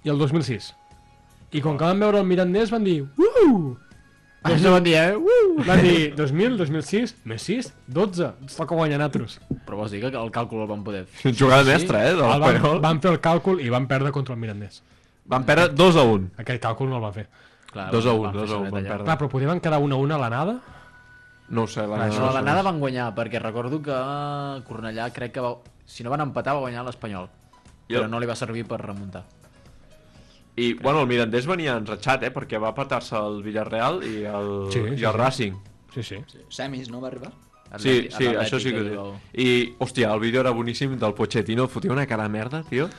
Speaker 1: i el 2006. I com que van veure el Mirandés van dir... Uh!
Speaker 5: Ah, no van dir, eh? Uh!
Speaker 1: Van dir 2000, 2006, més 6, 12. Ens toca guanyar nosaltres.
Speaker 5: Però vols dir que el càlcul el van poder fer?
Speaker 4: Jugada mestra, eh,
Speaker 1: El
Speaker 4: de
Speaker 1: van,
Speaker 4: l'Espanyol.
Speaker 1: van fer el càlcul i van perdre contra el Mirandés.
Speaker 4: Van perdre 2 a 1.
Speaker 1: Aquell càlcul no el va fer.
Speaker 5: Clar,
Speaker 4: 2 a
Speaker 5: Ah, van-
Speaker 4: 1,
Speaker 5: van fer
Speaker 4: 2 a
Speaker 5: sabeta
Speaker 4: 1, van
Speaker 5: allà.
Speaker 1: Clar,
Speaker 4: perdre.
Speaker 1: però podien quedar 1 a 1 a l'anada?
Speaker 4: No ho sé, la
Speaker 5: Però a l'anada van guanyar, perquè recordo que Cornellà crec que va... Si no van empatar, va guanyar l'Espanyol.
Speaker 4: Jo-
Speaker 5: Però no li va servir per remuntar.
Speaker 4: I, bueno, el Mirandés venia enratxat, eh? Perquè va patar-se el Villarreal i el, sí, i el Racing.
Speaker 1: Sí, sí.
Speaker 6: Semis, no va arribar?
Speaker 4: Sí, sí, això sí que ho diu. I, hòstia, el vídeo era boníssim del Pochettino, fotia una cara de merda, tio.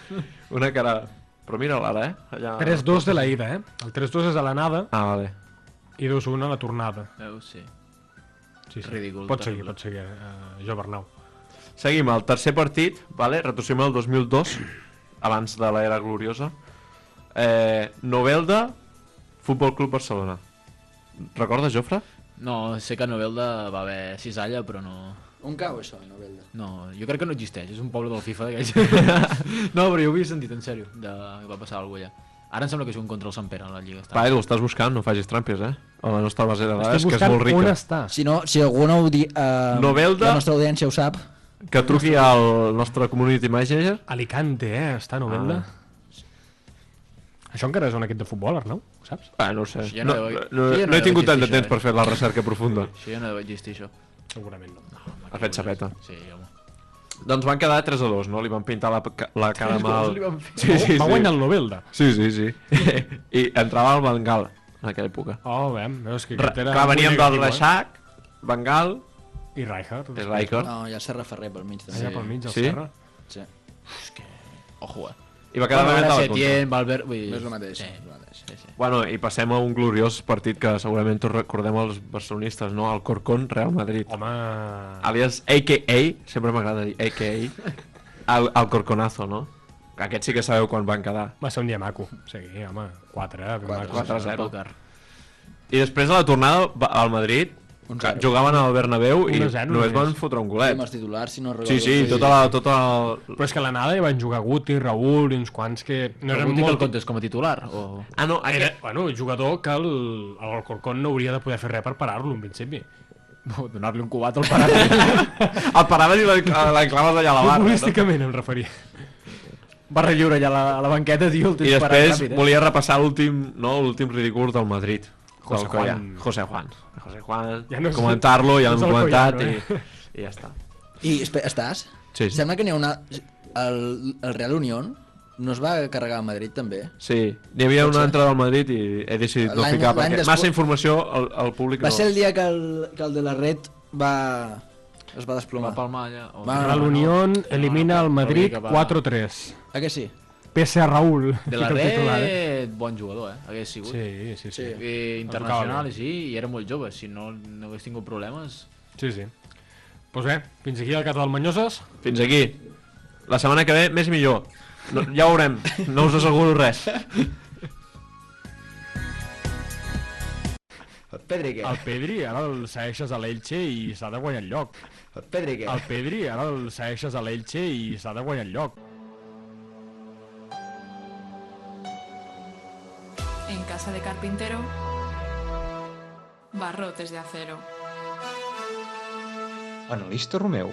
Speaker 4: Una cara... Però mira'l ara, eh? Allà...
Speaker 1: 3-2 de la ida, eh? El 3-2 és a l'anada
Speaker 4: Ah, vale.
Speaker 1: i 2-1 a la tornada.
Speaker 5: Veus, sí.
Speaker 1: Sí, sí.
Speaker 5: Ridícul,
Speaker 1: Pot seguir,
Speaker 5: terrible.
Speaker 1: pot seguir, eh, jo Bernau.
Speaker 4: Seguim, el tercer partit, vale? retrocedem al 2002, abans de l'era gloriosa. Eh, Novelda, Futbol Club Barcelona. Recordes, Jofre?
Speaker 5: No, sé que a Novelda va haver cisalla, però no...
Speaker 6: On cau això, Novelda?
Speaker 5: No, jo crec que no existeix, és un poble del FIFA d'aquells. no, però jo ho havia sentit, en sèrio, de... que va passar alguna cosa allà. Ara em sembla que és un contra el Sant Pere a la Lliga.
Speaker 4: Va, Edu, estàs buscant, no facis trampes, eh? A la nostra base de dades, que és
Speaker 1: buscant
Speaker 4: molt rica.
Speaker 1: on està.
Speaker 6: Si no, si algú no ho di... Eh,
Speaker 4: Novelda.
Speaker 6: La nostra audiència ho sap.
Speaker 4: Que truqui al nostre community manager.
Speaker 1: Alicante, eh? Està a Novelda. Ah. Això encara és un equip de futbol, Arnau? Ho saps?
Speaker 4: Ah, no ho sé.
Speaker 5: Això ja
Speaker 4: No,
Speaker 5: no
Speaker 4: no,
Speaker 5: deu-
Speaker 4: no,
Speaker 5: això ja no
Speaker 4: no he
Speaker 5: deu
Speaker 4: tingut tant de
Speaker 5: existir,
Speaker 4: temps
Speaker 5: això,
Speaker 4: per
Speaker 5: eh?
Speaker 4: fer la recerca profunda.
Speaker 5: Això ja no deu existir, això.
Speaker 1: Segurament no.
Speaker 4: Ha fet xapeta.
Speaker 5: Sí, home.
Speaker 4: Doncs van quedar 3 a 2, no? Li van pintar la, ca- la cara
Speaker 1: Tres
Speaker 4: mal.
Speaker 1: gols li van fer. Va guanyar el Novelda.
Speaker 4: Sí, sí, sí. I entrava el Bengal en aquella època.
Speaker 1: Oh, veiem, veus que
Speaker 4: Ra
Speaker 1: aquest era
Speaker 4: clar,
Speaker 1: molt
Speaker 4: veníem del
Speaker 1: negatiu, eh?
Speaker 4: Reixac, Bengal...
Speaker 1: I Rijkaard.
Speaker 4: I Rijkaard.
Speaker 6: No, hi ha Serra Ferrer pel mig.
Speaker 4: Ah, hi ha pel mig el
Speaker 6: sí?
Speaker 4: Sí? Serra?
Speaker 6: Sí.
Speaker 5: Ojo, eh?
Speaker 4: I va quedar
Speaker 5: bueno,
Speaker 4: rebentat
Speaker 5: ara
Speaker 4: la contra.
Speaker 5: Setién, Valverde... Vull... dir-
Speaker 6: No és el mateix.
Speaker 5: Sí.
Speaker 6: Sí, sí.
Speaker 4: Bueno, i passem a un gloriós partit que segurament tots recordem els barcelonistes, no? El Corcón Real Madrid.
Speaker 1: Home...
Speaker 4: Alias AKA, sempre m'agrada dir AKA, el, el Corconazo, no? Aquest sí que sabeu quan van quedar.
Speaker 1: Va ser un dia maco. Sí, home, eh, 4, ben maco.
Speaker 4: 4-0. I després a la tornada, va- al Madrid, que jugaven al Bernabéu i
Speaker 1: 1-0
Speaker 4: només van
Speaker 1: només.
Speaker 4: fotre un golet.
Speaker 6: Amb els titulars, si no recordo.
Speaker 4: Sí, sí, tota la... Tota la...
Speaker 1: Però és que a l'anada hi van jugar Guti, Raül i uns quants que... No eren
Speaker 5: Guti que el
Speaker 1: molt...
Speaker 5: comptes com a titular? O...
Speaker 4: Ah, no,
Speaker 1: aquest... Era, bueno, jugador que el, el Corcón no hauria de poder fer res per parar-lo, en principi.
Speaker 5: Donar-li un cubat al parat.
Speaker 4: el paraven i l'enclaves allà a la barra, no?
Speaker 1: Futbolísticament em referia.
Speaker 5: Va relliure allà a la, a la banqueta, tio, el tens
Speaker 4: I després
Speaker 5: parat ràpid, eh?
Speaker 4: volia repassar l'últim no, l'últim ridícul del Madrid.
Speaker 1: José
Speaker 4: del que hi ha.
Speaker 1: Juan.
Speaker 4: José Juan. José Juan.
Speaker 1: Ja no és-
Speaker 4: Comentar-lo, ja
Speaker 1: no és
Speaker 4: l'hem
Speaker 1: el
Speaker 4: comentat i,
Speaker 1: Collano,
Speaker 4: i ja està.
Speaker 6: I espe- estàs?
Speaker 4: Sí, sí.
Speaker 6: Sembla que n'hi ha una... El, el Real Unión no es va carregar a Madrid, també.
Speaker 4: Sí, n'hi havia
Speaker 6: Pot
Speaker 4: una
Speaker 6: ser.
Speaker 4: altra del Madrid i he decidit no
Speaker 6: L'any-
Speaker 4: ficar
Speaker 6: l'any
Speaker 4: perquè
Speaker 6: després-
Speaker 4: massa informació al, al públic
Speaker 6: Va
Speaker 4: no.
Speaker 6: ser el dia que el, que el de la red va... es va desplomar. Va
Speaker 5: palmar allà. O...
Speaker 1: Va, Real Unión elimina el Madrid
Speaker 6: que va-
Speaker 1: 4-3.
Speaker 6: Ah, que sí?
Speaker 1: Pese a Raúl.
Speaker 5: De la
Speaker 1: fica el titular, eh?
Speaker 5: red, bon jugador, eh? Hagués sigut.
Speaker 1: Sí, sí, sí. Sí.
Speaker 5: I internacional, i sí, i era molt jove. Si no, no hagués tingut problemes...
Speaker 1: Sí, sí. Doncs bé, fins aquí el cas del Manyoses.
Speaker 4: Fins aquí. La setmana que ve, més i millor. No, ja ho veurem, no us asseguro res.
Speaker 1: El Pedri, què? El Pedri, ara el segueixes a l'Elche i s'ha de guanyar el lloc. El Pedri, què? El Pedri, ara el segueixes a l'Elche i s'ha de guanyar el lloc.
Speaker 14: En casa de carpintero, barrotes de acero.
Speaker 15: Analista Romeu.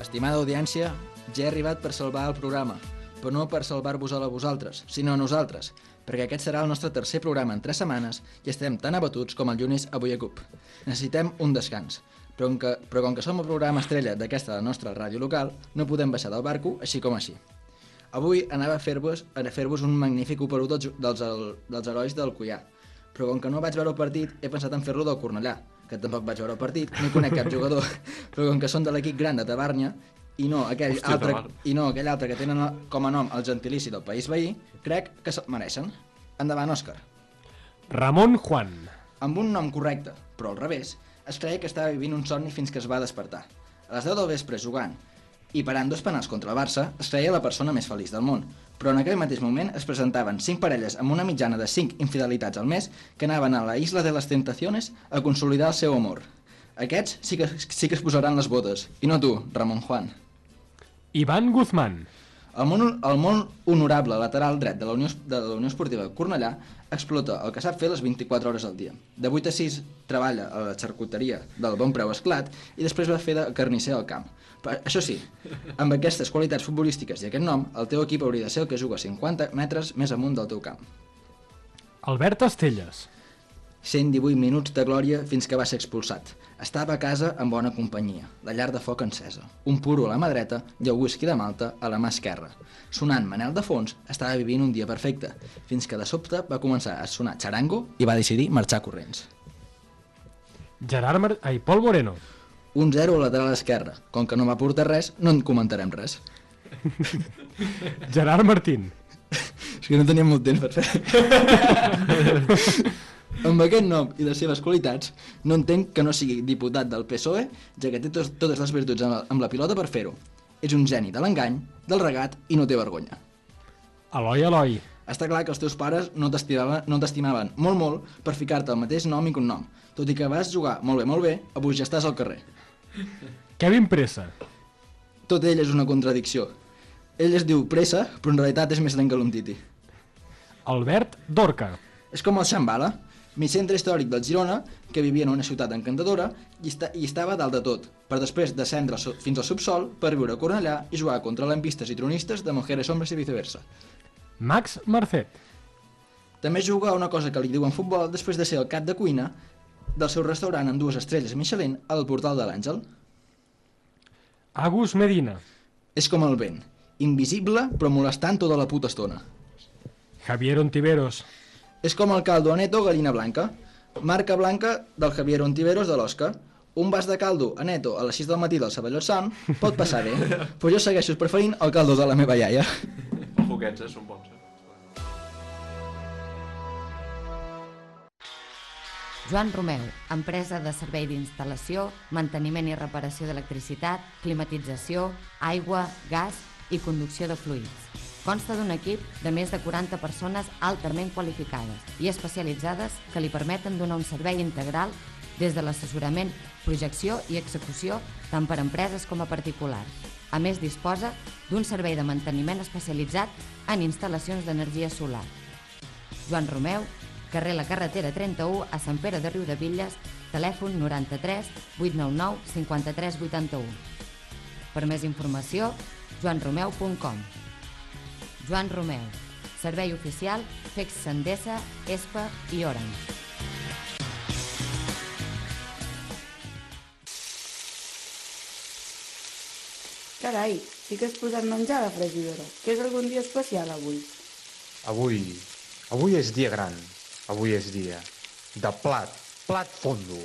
Speaker 6: Estimada audiència, ja he arribat per salvar el programa, però no per salvar-vos a la vosaltres, sinó a nosaltres, perquè aquest serà el nostre tercer programa en tres setmanes i estem tan abatuts com el llunes avui a CUP. Necessitem un descans, però com que, però com que som el programa estrella d'aquesta la nostra ràdio local, no podem baixar del barco així com així. Avui anava a fer-vos a fer-vos un magnífic 1 per 1 dels, dels, dels herois del Cuià, però com que no vaig veure el partit, he pensat en fer-lo del Cornellà, que tampoc vaig veure el partit, no hi conec cap jugador, però com que són de l'equip gran de Tavernya, i no aquell,
Speaker 16: Hòstia,
Speaker 6: altre,
Speaker 16: Tabarn.
Speaker 6: i no aquell altre que tenen com a nom el gentilici del país veí, crec que se'l mereixen. Endavant, Òscar.
Speaker 1: Ramon Juan.
Speaker 6: Amb un nom correcte, però al revés, es creia que estava vivint un somni fins que es va despertar. A les 10 del vespre jugant i parant dos penals contra el Barça, es creia la persona més feliç del món. Però en aquell mateix moment es presentaven cinc parelles amb una mitjana de 5 infidelitats al mes que anaven a la Isla de les Tentaciones a consolidar el seu amor. Aquests sí que, sí que es posaran les botes, i no tu, Ramon Juan.
Speaker 1: Ivan Guzmán.
Speaker 6: El molt, el molt honorable lateral dret de la, Unió, de la Unió Esportiva de Cornellà explota el que sap fer les 24 hores al dia. De 8 a 6 treballa a la xarcuteria del Bon Preu Esclat i després va fer de carnisser al camp. Però, això sí, amb aquestes qualitats futbolístiques i aquest nom, el teu equip hauria de ser el que juga 50 metres més amunt del teu camp.
Speaker 1: Albert Estelles.
Speaker 6: 118 minuts de glòria fins que va ser expulsat. Estava a casa en bona companyia, la llar de foc encesa, un puro a la mà dreta i el whisky de Malta a la mà esquerra. Sonant Manel de Fons, estava vivint un dia perfecte, fins que de sobte va començar a sonar xarango i va decidir marxar corrents.
Speaker 1: Gerard Mar... Ai, Pol Moreno.
Speaker 6: Un 0 al lateral esquerre. Com que no va portar res, no en comentarem res.
Speaker 1: Gerard Martín.
Speaker 6: És que no teníem molt temps per fer. Amb aquest nom i les seves qualitats, no entenc que no sigui diputat del PSOE, E, ja que té tos, totes les virtuts amb la, amb la pilota per fer-ho. És un geni de l'engany, del regat i no té vergonya.
Speaker 1: Eloi, Eloi.
Speaker 6: Està clar que els teus pares no t'estimaven no t'estimaven molt molt per ficar-te el mateix nom i cognom. Tot i que vas jugar molt bé, molt bé, avui ja estàs al carrer.
Speaker 1: Kevin Pressa.
Speaker 6: Tot ell és una contradicció. Ell es diu Pressa, però en realitat és més lent que l'Umtiti.
Speaker 1: Albert Dorca.
Speaker 6: És com el Shambhala, mi centre històric del Girona, que vivia en una ciutat encantadora i, esta i estava dalt de tot, per després descendre al so- fins al subsol per viure a Cornellà i jugar contra lampistes i tronistes de Mujeres Hombres i viceversa.
Speaker 1: Max Marcet.
Speaker 6: També juga a una cosa que li diuen futbol després de ser el cap de cuina del seu restaurant amb dues estrelles Michelin al portal de l'Àngel.
Speaker 1: Agus Medina.
Speaker 6: És com el vent, invisible però molestant tota la puta estona.
Speaker 1: Javier Ontiveros.
Speaker 6: És com el caldo aneto gallina blanca, marca blanca del Javier Ontiveros de l'Osca. Un vas de caldo aneto a les 6 del matí del Sabelló Sant pot passar bé, però jo segueixo preferint el caldo de la meva iaia.
Speaker 4: Els foguets, eh? Són bons, eh?
Speaker 15: Joan Romeu, empresa de servei d'instal·lació, manteniment i reparació d'electricitat, climatització, aigua, gas i conducció de fluids. Consta d'un equip de més de 40 persones altament qualificades i especialitzades que li permeten donar un servei integral des de l'assessorament, projecció i execució tant per a empreses com a particulars. A més, disposa d'un servei de manteniment especialitzat en instal·lacions d'energia solar. Joan Romeu, carrer La Carretera 31 a Sant Pere de Riudevilles, telèfon 93 899 53 81. Per més informació, joanromeu.com Joan Romeu, servei oficial FEX Sendesa, ESPA i Orange.
Speaker 16: Carai, sí que has posat menjar a la fregidora, que és algun dia especial avui.
Speaker 17: Avui, avui és dia gran. Avui és dia de plat, plat fondo.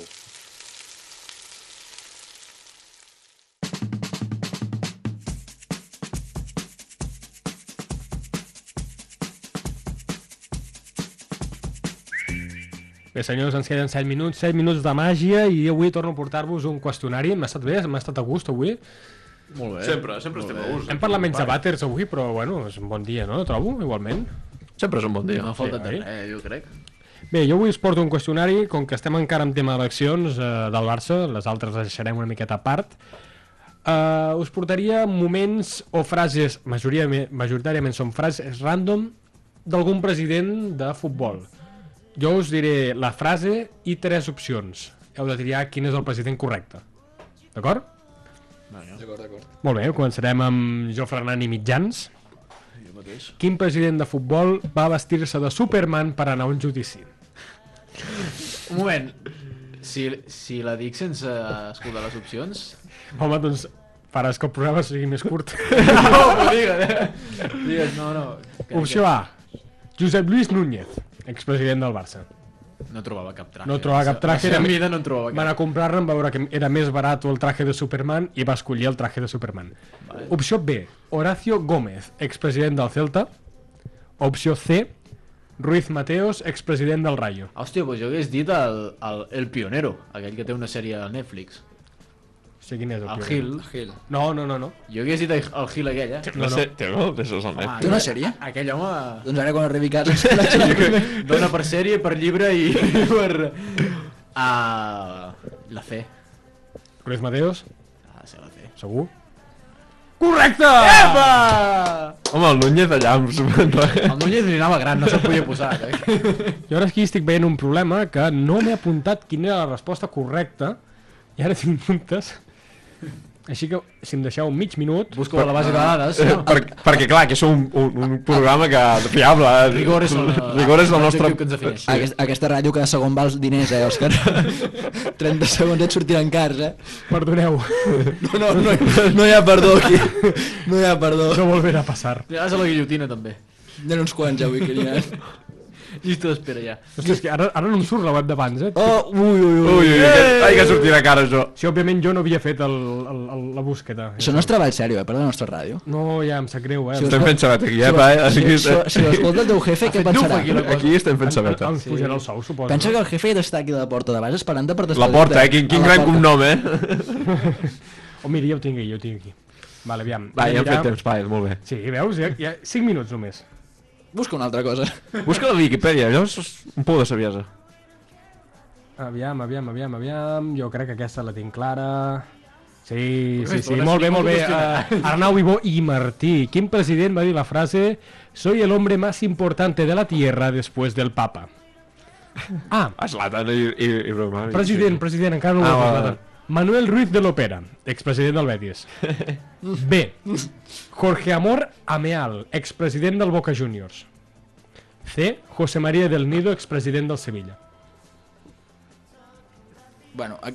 Speaker 1: Bé, senyors, ens queden 7 minuts, 7 minuts de màgia i avui torno a portar-vos un qüestionari. M'ha estat bé? M'ha estat a gust avui?
Speaker 5: Ah, Molt bé.
Speaker 4: Sempre, sempre estem a gust. eh.
Speaker 1: Hem parlat menys de vàters avui, però bueno, és un bon dia, no? Trobo, igualment.
Speaker 4: Sempre és un bon
Speaker 5: No ha
Speaker 1: eh?
Speaker 5: faltat de res, jo crec.
Speaker 1: Bé, jo avui us porto un qüestionari, com que estem encara en tema d'eleccions eh, del Barça, les altres les deixarem una miqueta a part. Eh, us portaria moments o frases, majoria, majoritàriament són frases random, d'algun president de futbol. Jo us diré la frase i tres opcions. Heu de triar quin és el president correcte. D'acord?
Speaker 6: D'acord, d'acord.
Speaker 1: Molt bé, començarem amb Jofre Hernán i mitjans.
Speaker 5: Jo mateix.
Speaker 1: Quin president de futbol va vestir-se de Superman per anar a un judici?
Speaker 5: Un moment. Si, si la dic sense escoltar les opcions...
Speaker 1: Home, doncs faràs que el programa sigui més curt.
Speaker 5: No, però digues, digues, no, no. que-
Speaker 1: Opció A. Josep Lluís Núñez, expresident del Barça.
Speaker 5: No trobava cap traje.
Speaker 1: No trobava cap traje.
Speaker 5: Era...
Speaker 1: era-
Speaker 5: vida no en trobava cap.
Speaker 1: Van a comprar-ne, van veure que era més barat el traje de Superman i va escollir el traje de Superman. Opció B. Horacio Gómez, expresident del Celta. Opció C. Ruiz Mateos, expresident del Rayo.
Speaker 5: Hòstia, doncs jo hagués dit el, el, el pionero, aquell que té una sèrie a Netflix.
Speaker 1: O sigui, quin és el,
Speaker 5: El
Speaker 1: primer?
Speaker 5: Hill.
Speaker 1: No, no, no, no.
Speaker 5: Jo hagués dit el Hill aquell, eh?
Speaker 4: No, no. sé, té molt això és el net.
Speaker 5: Home,
Speaker 6: Té una sèrie?
Speaker 5: Aquell home...
Speaker 6: Doncs ara quan arribi a casa... ens la xerrem.
Speaker 5: Dona per sèrie, per llibre i per... Uh, la fe.
Speaker 1: Ruiz Mateos?
Speaker 5: Ah, sí, la fe.
Speaker 1: Segur? Correcte! Epa!
Speaker 4: Home, el Núñez allà amb Superman.
Speaker 5: El Núñez li anava gran, no se'l podia posar. Eh?
Speaker 1: Jo ara aquí estic veient un problema que no m'he apuntat quina era la resposta correcta i ara tinc dubtes Així que, si em deixeu mig minut... Busco
Speaker 5: a la base de dades, no?
Speaker 4: Per, perquè, clar, que és un, un, un programa que... fiable. eh?
Speaker 5: Rigor és el-
Speaker 4: Rigor és el nostre...
Speaker 5: l'objectiu que ens defineix.
Speaker 6: Aquest, aquesta ràdio cada segon val diners, eh, Òscar? 30 segons et sortiran cars, eh?
Speaker 1: Perdoneu.
Speaker 6: No, no, no, hi- no hi ha perdó aquí. No hi ha perdó.
Speaker 1: No volverà a passar.
Speaker 5: Tiraràs a la guillotina, també.
Speaker 6: N'hi ha uns quants, avui, que n'hi ha.
Speaker 5: Llista d'espera, ja.
Speaker 1: Ostres, que ara, ara no em surt la web d'abans, eh?
Speaker 6: Oh, ui, ui,
Speaker 4: ui. Ui, ui, que- ai, que sortirà cara, això.
Speaker 1: Sí, òbviament jo no havia fet el, el, el, la búsqueda.
Speaker 6: Això no és treball sèrio, eh, per la nostra ràdio.
Speaker 1: No, ja, em sap greu, eh?
Speaker 6: Si ho Estem fent sabat aquí, eh, pa, eh? Així que- si- si- si ho escolta el teu jefe, què pensarà? Aquí estem fent sabat, eh?
Speaker 1: Em, em pujarà el
Speaker 6: Sí.
Speaker 1: sou, suposo.
Speaker 6: Pensa que el jefe ja està aquí de la porta de baix esperant-te per
Speaker 4: La porta, eh? Quin, quin gran cognom, eh?
Speaker 1: Oh, mira, ja ho tinc aquí, ja ho tinc aquí. Vale, aviam.
Speaker 4: Va, ja hem
Speaker 1: mirar-
Speaker 4: fet temps, Pael, molt bé.
Speaker 1: Sí, veus? Ja, ja 5 minuts només.
Speaker 6: Busca una altra cosa.
Speaker 4: Busca la Viquipèdia, allò és un pou de saviesa.
Speaker 1: Aviam, aviam, aviam, aviam... Jo crec que aquesta la tinc clara... Sí, sí,
Speaker 5: Ui,
Speaker 1: sí,
Speaker 5: l'has
Speaker 1: molt bé,
Speaker 5: tingut
Speaker 1: molt bé.
Speaker 5: qüestionat.
Speaker 1: Uh, Arnau Ibó i Martí. Quin president va dir la frase «Soy el hombre más importante de la Tierra después del Papa»? Ah,
Speaker 4: Eslatan i, i, i broma. eh?
Speaker 1: President, president, encara no ho
Speaker 4: Ah,
Speaker 1: ah,
Speaker 4: va,
Speaker 1: he
Speaker 4: va.
Speaker 1: parlat. Manuel Ruiz de Lopera, expresident del Betis. B. Jorge Amor Ameal, expresident del Boca Juniors. C. José María del Nido, expresident del Sevilla.
Speaker 6: Bueno, a-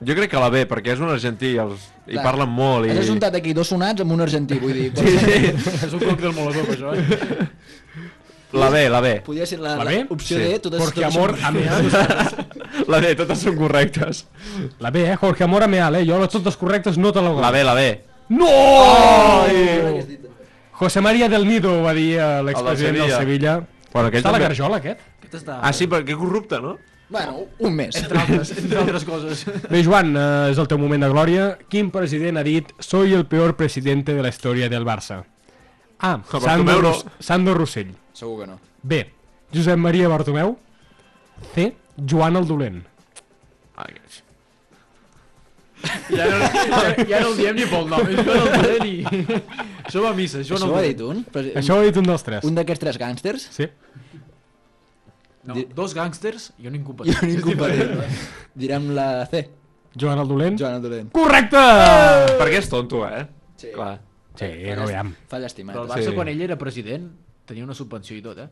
Speaker 4: Jo crec que la B, perquè és un argentí i, els, i
Speaker 6: Clar.
Speaker 4: parlen molt. I...
Speaker 6: Has ajuntat aquí dos sonats amb un argentí, vull dir.
Speaker 4: Sí, sí.
Speaker 5: És un còctel molotov, això, eh?
Speaker 4: La B, la B.
Speaker 6: Podria ser la,
Speaker 4: La
Speaker 6: la,
Speaker 4: B?
Speaker 6: opció
Speaker 4: Sí.
Speaker 6: D, totes...
Speaker 1: Jorge
Speaker 6: totes
Speaker 1: Amor
Speaker 6: són-
Speaker 1: Ameal.
Speaker 4: La B, totes són correctes.
Speaker 1: La B, eh? Jorge Amor Ameal, eh? Jo les totes correctes no te la dono.
Speaker 4: La B, la B.
Speaker 1: No! José María del Nido, va dir eh, l'expresident del Sevilla.
Speaker 4: Bueno, aquell
Speaker 1: Està a la
Speaker 4: també-
Speaker 1: Garjola, aquest?
Speaker 5: Aquest està...
Speaker 4: Ah, sí, perquè corrupte, no?
Speaker 6: Bueno, un més.
Speaker 5: Entre altres, entre altres coses.
Speaker 1: Bé, Joan, eh, és el teu moment de glòria. Quin president ha dit «Soy el peor presidente de la història del Barça»? A. Sandro,
Speaker 6: Bartomeu no.
Speaker 1: Rus Sandro Rossell.
Speaker 6: Segur que no.
Speaker 1: B. Josep Maria Bartomeu. C. Joan el Dolent.
Speaker 5: Ja no, ja, ja no el diem ni pel nom, és Joan el Dolent i... Això va a missa, Joan
Speaker 6: Això
Speaker 5: el
Speaker 6: ho ha
Speaker 5: Dolent.
Speaker 6: dit un? Presi-
Speaker 1: Això ho ha dit un dels tres.
Speaker 6: Un d'aquests tres gàngsters?
Speaker 1: Sí.
Speaker 5: No, dos gàngsters i un incompetent.
Speaker 6: I un incompetent.
Speaker 5: És diferent.
Speaker 6: Direm la C.
Speaker 1: Joan el Dolent.
Speaker 6: Joan Ah! el Dolent.
Speaker 1: Correcte!
Speaker 4: Perquè és tonto, eh?
Speaker 6: Sí.
Speaker 4: Clar.
Speaker 1: Sí, no veiem.
Speaker 6: Fa llàstima. eh?
Speaker 5: Però el Barça, sí. quan ell era president, tenia una subvenció i tot, eh?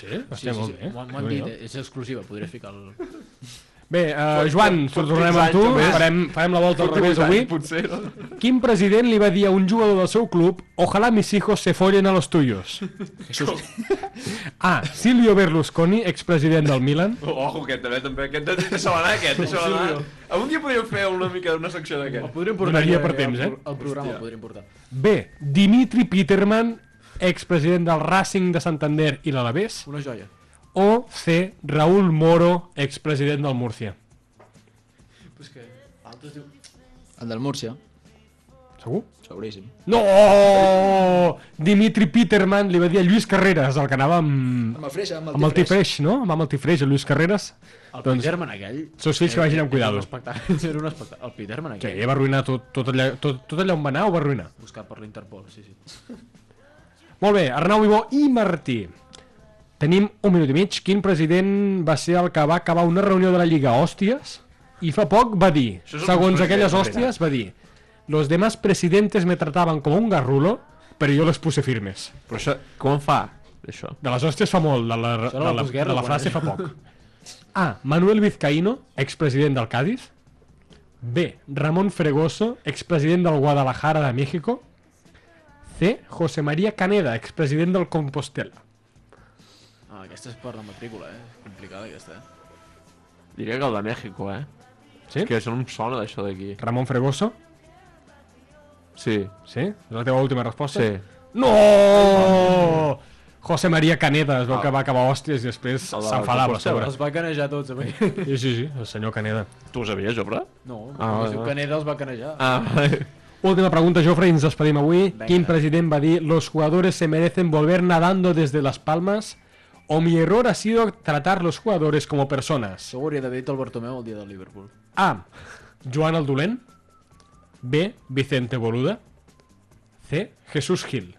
Speaker 1: Sí? Hòstia, molt bé.
Speaker 5: M'ho han- m'ho han
Speaker 1: Déu-n'hi-do.
Speaker 5: dit, eh? és exclusiva, podries ficar el...
Speaker 1: Bé, eh, Joan,
Speaker 5: Fot-
Speaker 1: t'ho tornem amb
Speaker 5: fot-
Speaker 1: tu.
Speaker 5: fot- fot-
Speaker 1: Farem, farem la volta al
Speaker 5: fot-
Speaker 1: revés
Speaker 5: fot-
Speaker 1: avui.
Speaker 4: Potser, no?
Speaker 1: Quin president li va dir a un jugador del seu club «Ojalá mis hijos se follen a los tuyos»? A. Silvio Berlusconi, expresident del Milan.
Speaker 4: Ojo, aquest també, també. Aquest deixa-la anar, aquest. Deixa-la anar. Algun dia podríem fer una mica d'una secció d'aquest. El
Speaker 5: podríem
Speaker 1: Donaria per temps, eh?
Speaker 5: El programa el podríem portar.
Speaker 1: B. Dimitri Peterman, expresident del Racing de Santander i l'Alavés.
Speaker 5: Una joia.
Speaker 1: O C. Raúl Moro, expresident del Múrcia.
Speaker 5: Però és que l'altre es diu...
Speaker 6: El del Múrcia.
Speaker 1: Segur?
Speaker 6: Seguríssim.
Speaker 1: No! Dimitri Peterman li va dir a Lluís Carreras, el que anava amb...
Speaker 6: Amb el Freix, amb el
Speaker 1: amb el
Speaker 6: Tifreix.
Speaker 1: Tifreix, no? Amb el Tifreix, el Lluís Carreras.
Speaker 5: El doncs, Peterman aquell... eh,
Speaker 1: Seus fills que vagin amb
Speaker 5: era- era
Speaker 1: cuidado.
Speaker 5: un espectacle, Era un espectacle. El Peterman
Speaker 1: Sí,
Speaker 5: aquell.
Speaker 1: va arruïnar tot, tot, allà, tot, tot allà on va anar, ho va arruïnar.
Speaker 5: Buscat per l'Interpol, sí, sí.
Speaker 1: Molt bé, Arnau Ibó i Martí. Tenim un minut i mig. Quin president va ser el que va acabar una reunió de la Lliga a Hòsties? I fa poc va dir,
Speaker 4: Això és el
Speaker 1: segons
Speaker 4: president,
Speaker 1: aquelles
Speaker 4: en
Speaker 1: hòsties, va dir Los demás presidentes me trataban como un garrulo, pero yo los puse firmes.
Speaker 4: Però això, com en fa, això?
Speaker 1: De les hòsties fa molt, de la,
Speaker 4: Això
Speaker 1: de
Speaker 4: era la
Speaker 1: la,
Speaker 4: postguerra,
Speaker 1: de la
Speaker 4: quan
Speaker 1: frase fa
Speaker 4: era.
Speaker 1: poc. A. Ah, Manuel Vizcaíno, expresident del Cádiz. B. Ramón Fregoso, expresident del Guadalajara de México. C. José María Caneda, expresident del Compostela.
Speaker 5: Ah, aquesta és per la matrícula, eh? Complicada, aquesta, eh?
Speaker 4: Diria que el de México, eh?
Speaker 1: Sí?
Speaker 4: És que això no em sona d'això d'aquí.
Speaker 1: Ramon Fregoso?
Speaker 4: Sí.
Speaker 1: Sí? És la teva última resposta?
Speaker 4: Sí.
Speaker 1: No! José María Caneda es veu que va acabar a hòsties i després s'enfadava a Ah, sobre.
Speaker 5: Els va canejar tots, avui.
Speaker 1: Sí, sí, sí, el senyor Caneda.
Speaker 4: Tu ho sabies, Jofre?
Speaker 5: No,
Speaker 1: Ah,
Speaker 5: ah,
Speaker 1: vale,
Speaker 5: es diu
Speaker 1: vale.
Speaker 5: Caneda els va canejar.
Speaker 4: Uh,
Speaker 1: Última pregunta, Jofre, i ens despedim avui.
Speaker 5: Vinga.
Speaker 1: Quin president va dir «Los jugadores se merecen volver nadando desde las palmas» o «Mi error ha sido tratar los jugadores como personas».
Speaker 5: Això ho hauria d'haver dit el Bartomeu el dia del Liverpool.
Speaker 1: A. Joan el Dolent. B. Vicente Boluda. C. Jesús Gil.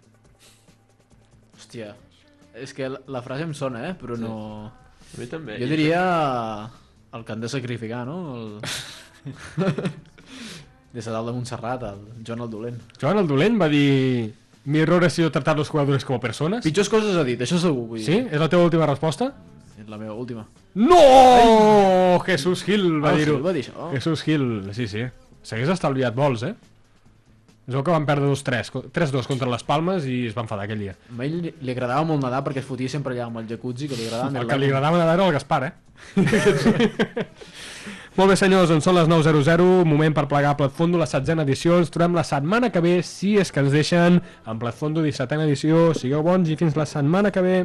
Speaker 5: Hòstia, és que la, la frase em sona, eh? Però no...
Speaker 4: A mi també.
Speaker 5: Jo diria el que han de sacrificar, no? El... Des de dalt de Montserrat, el Joan el Dolent.
Speaker 1: Joan el Dolent va dir... Mi error ha sido tratar los jugadores como personas.
Speaker 5: Pitjors coses ha dit, això segur. Vull
Speaker 1: Sí? És la teva última resposta?
Speaker 5: És la meva última.
Speaker 1: No! Jesús Gil va
Speaker 5: Ah,
Speaker 1: dir-ho.
Speaker 5: Gil va dir això.
Speaker 1: Jesús Gil, sí, sí. S'hagués estalviat vols, eh? És el que van perdre 2-3, co- 3-2 contra les Palmes i es va enfadar aquell dia.
Speaker 5: A ell li- li agradava molt nedar perquè es fotia sempre allà amb el jacuzzi, que li agradava més
Speaker 1: El que li
Speaker 5: l'aigua.
Speaker 1: agradava nedar era el Gaspar, eh? Molt bé, senyors, en són les 9.00, moment per plegar Plat Fondo, la setzena edició. Ens trobem la setmana que ve, si és que ens deixen en Plat Fondo, 17a edició. Sigueu bons i fins la setmana que ve.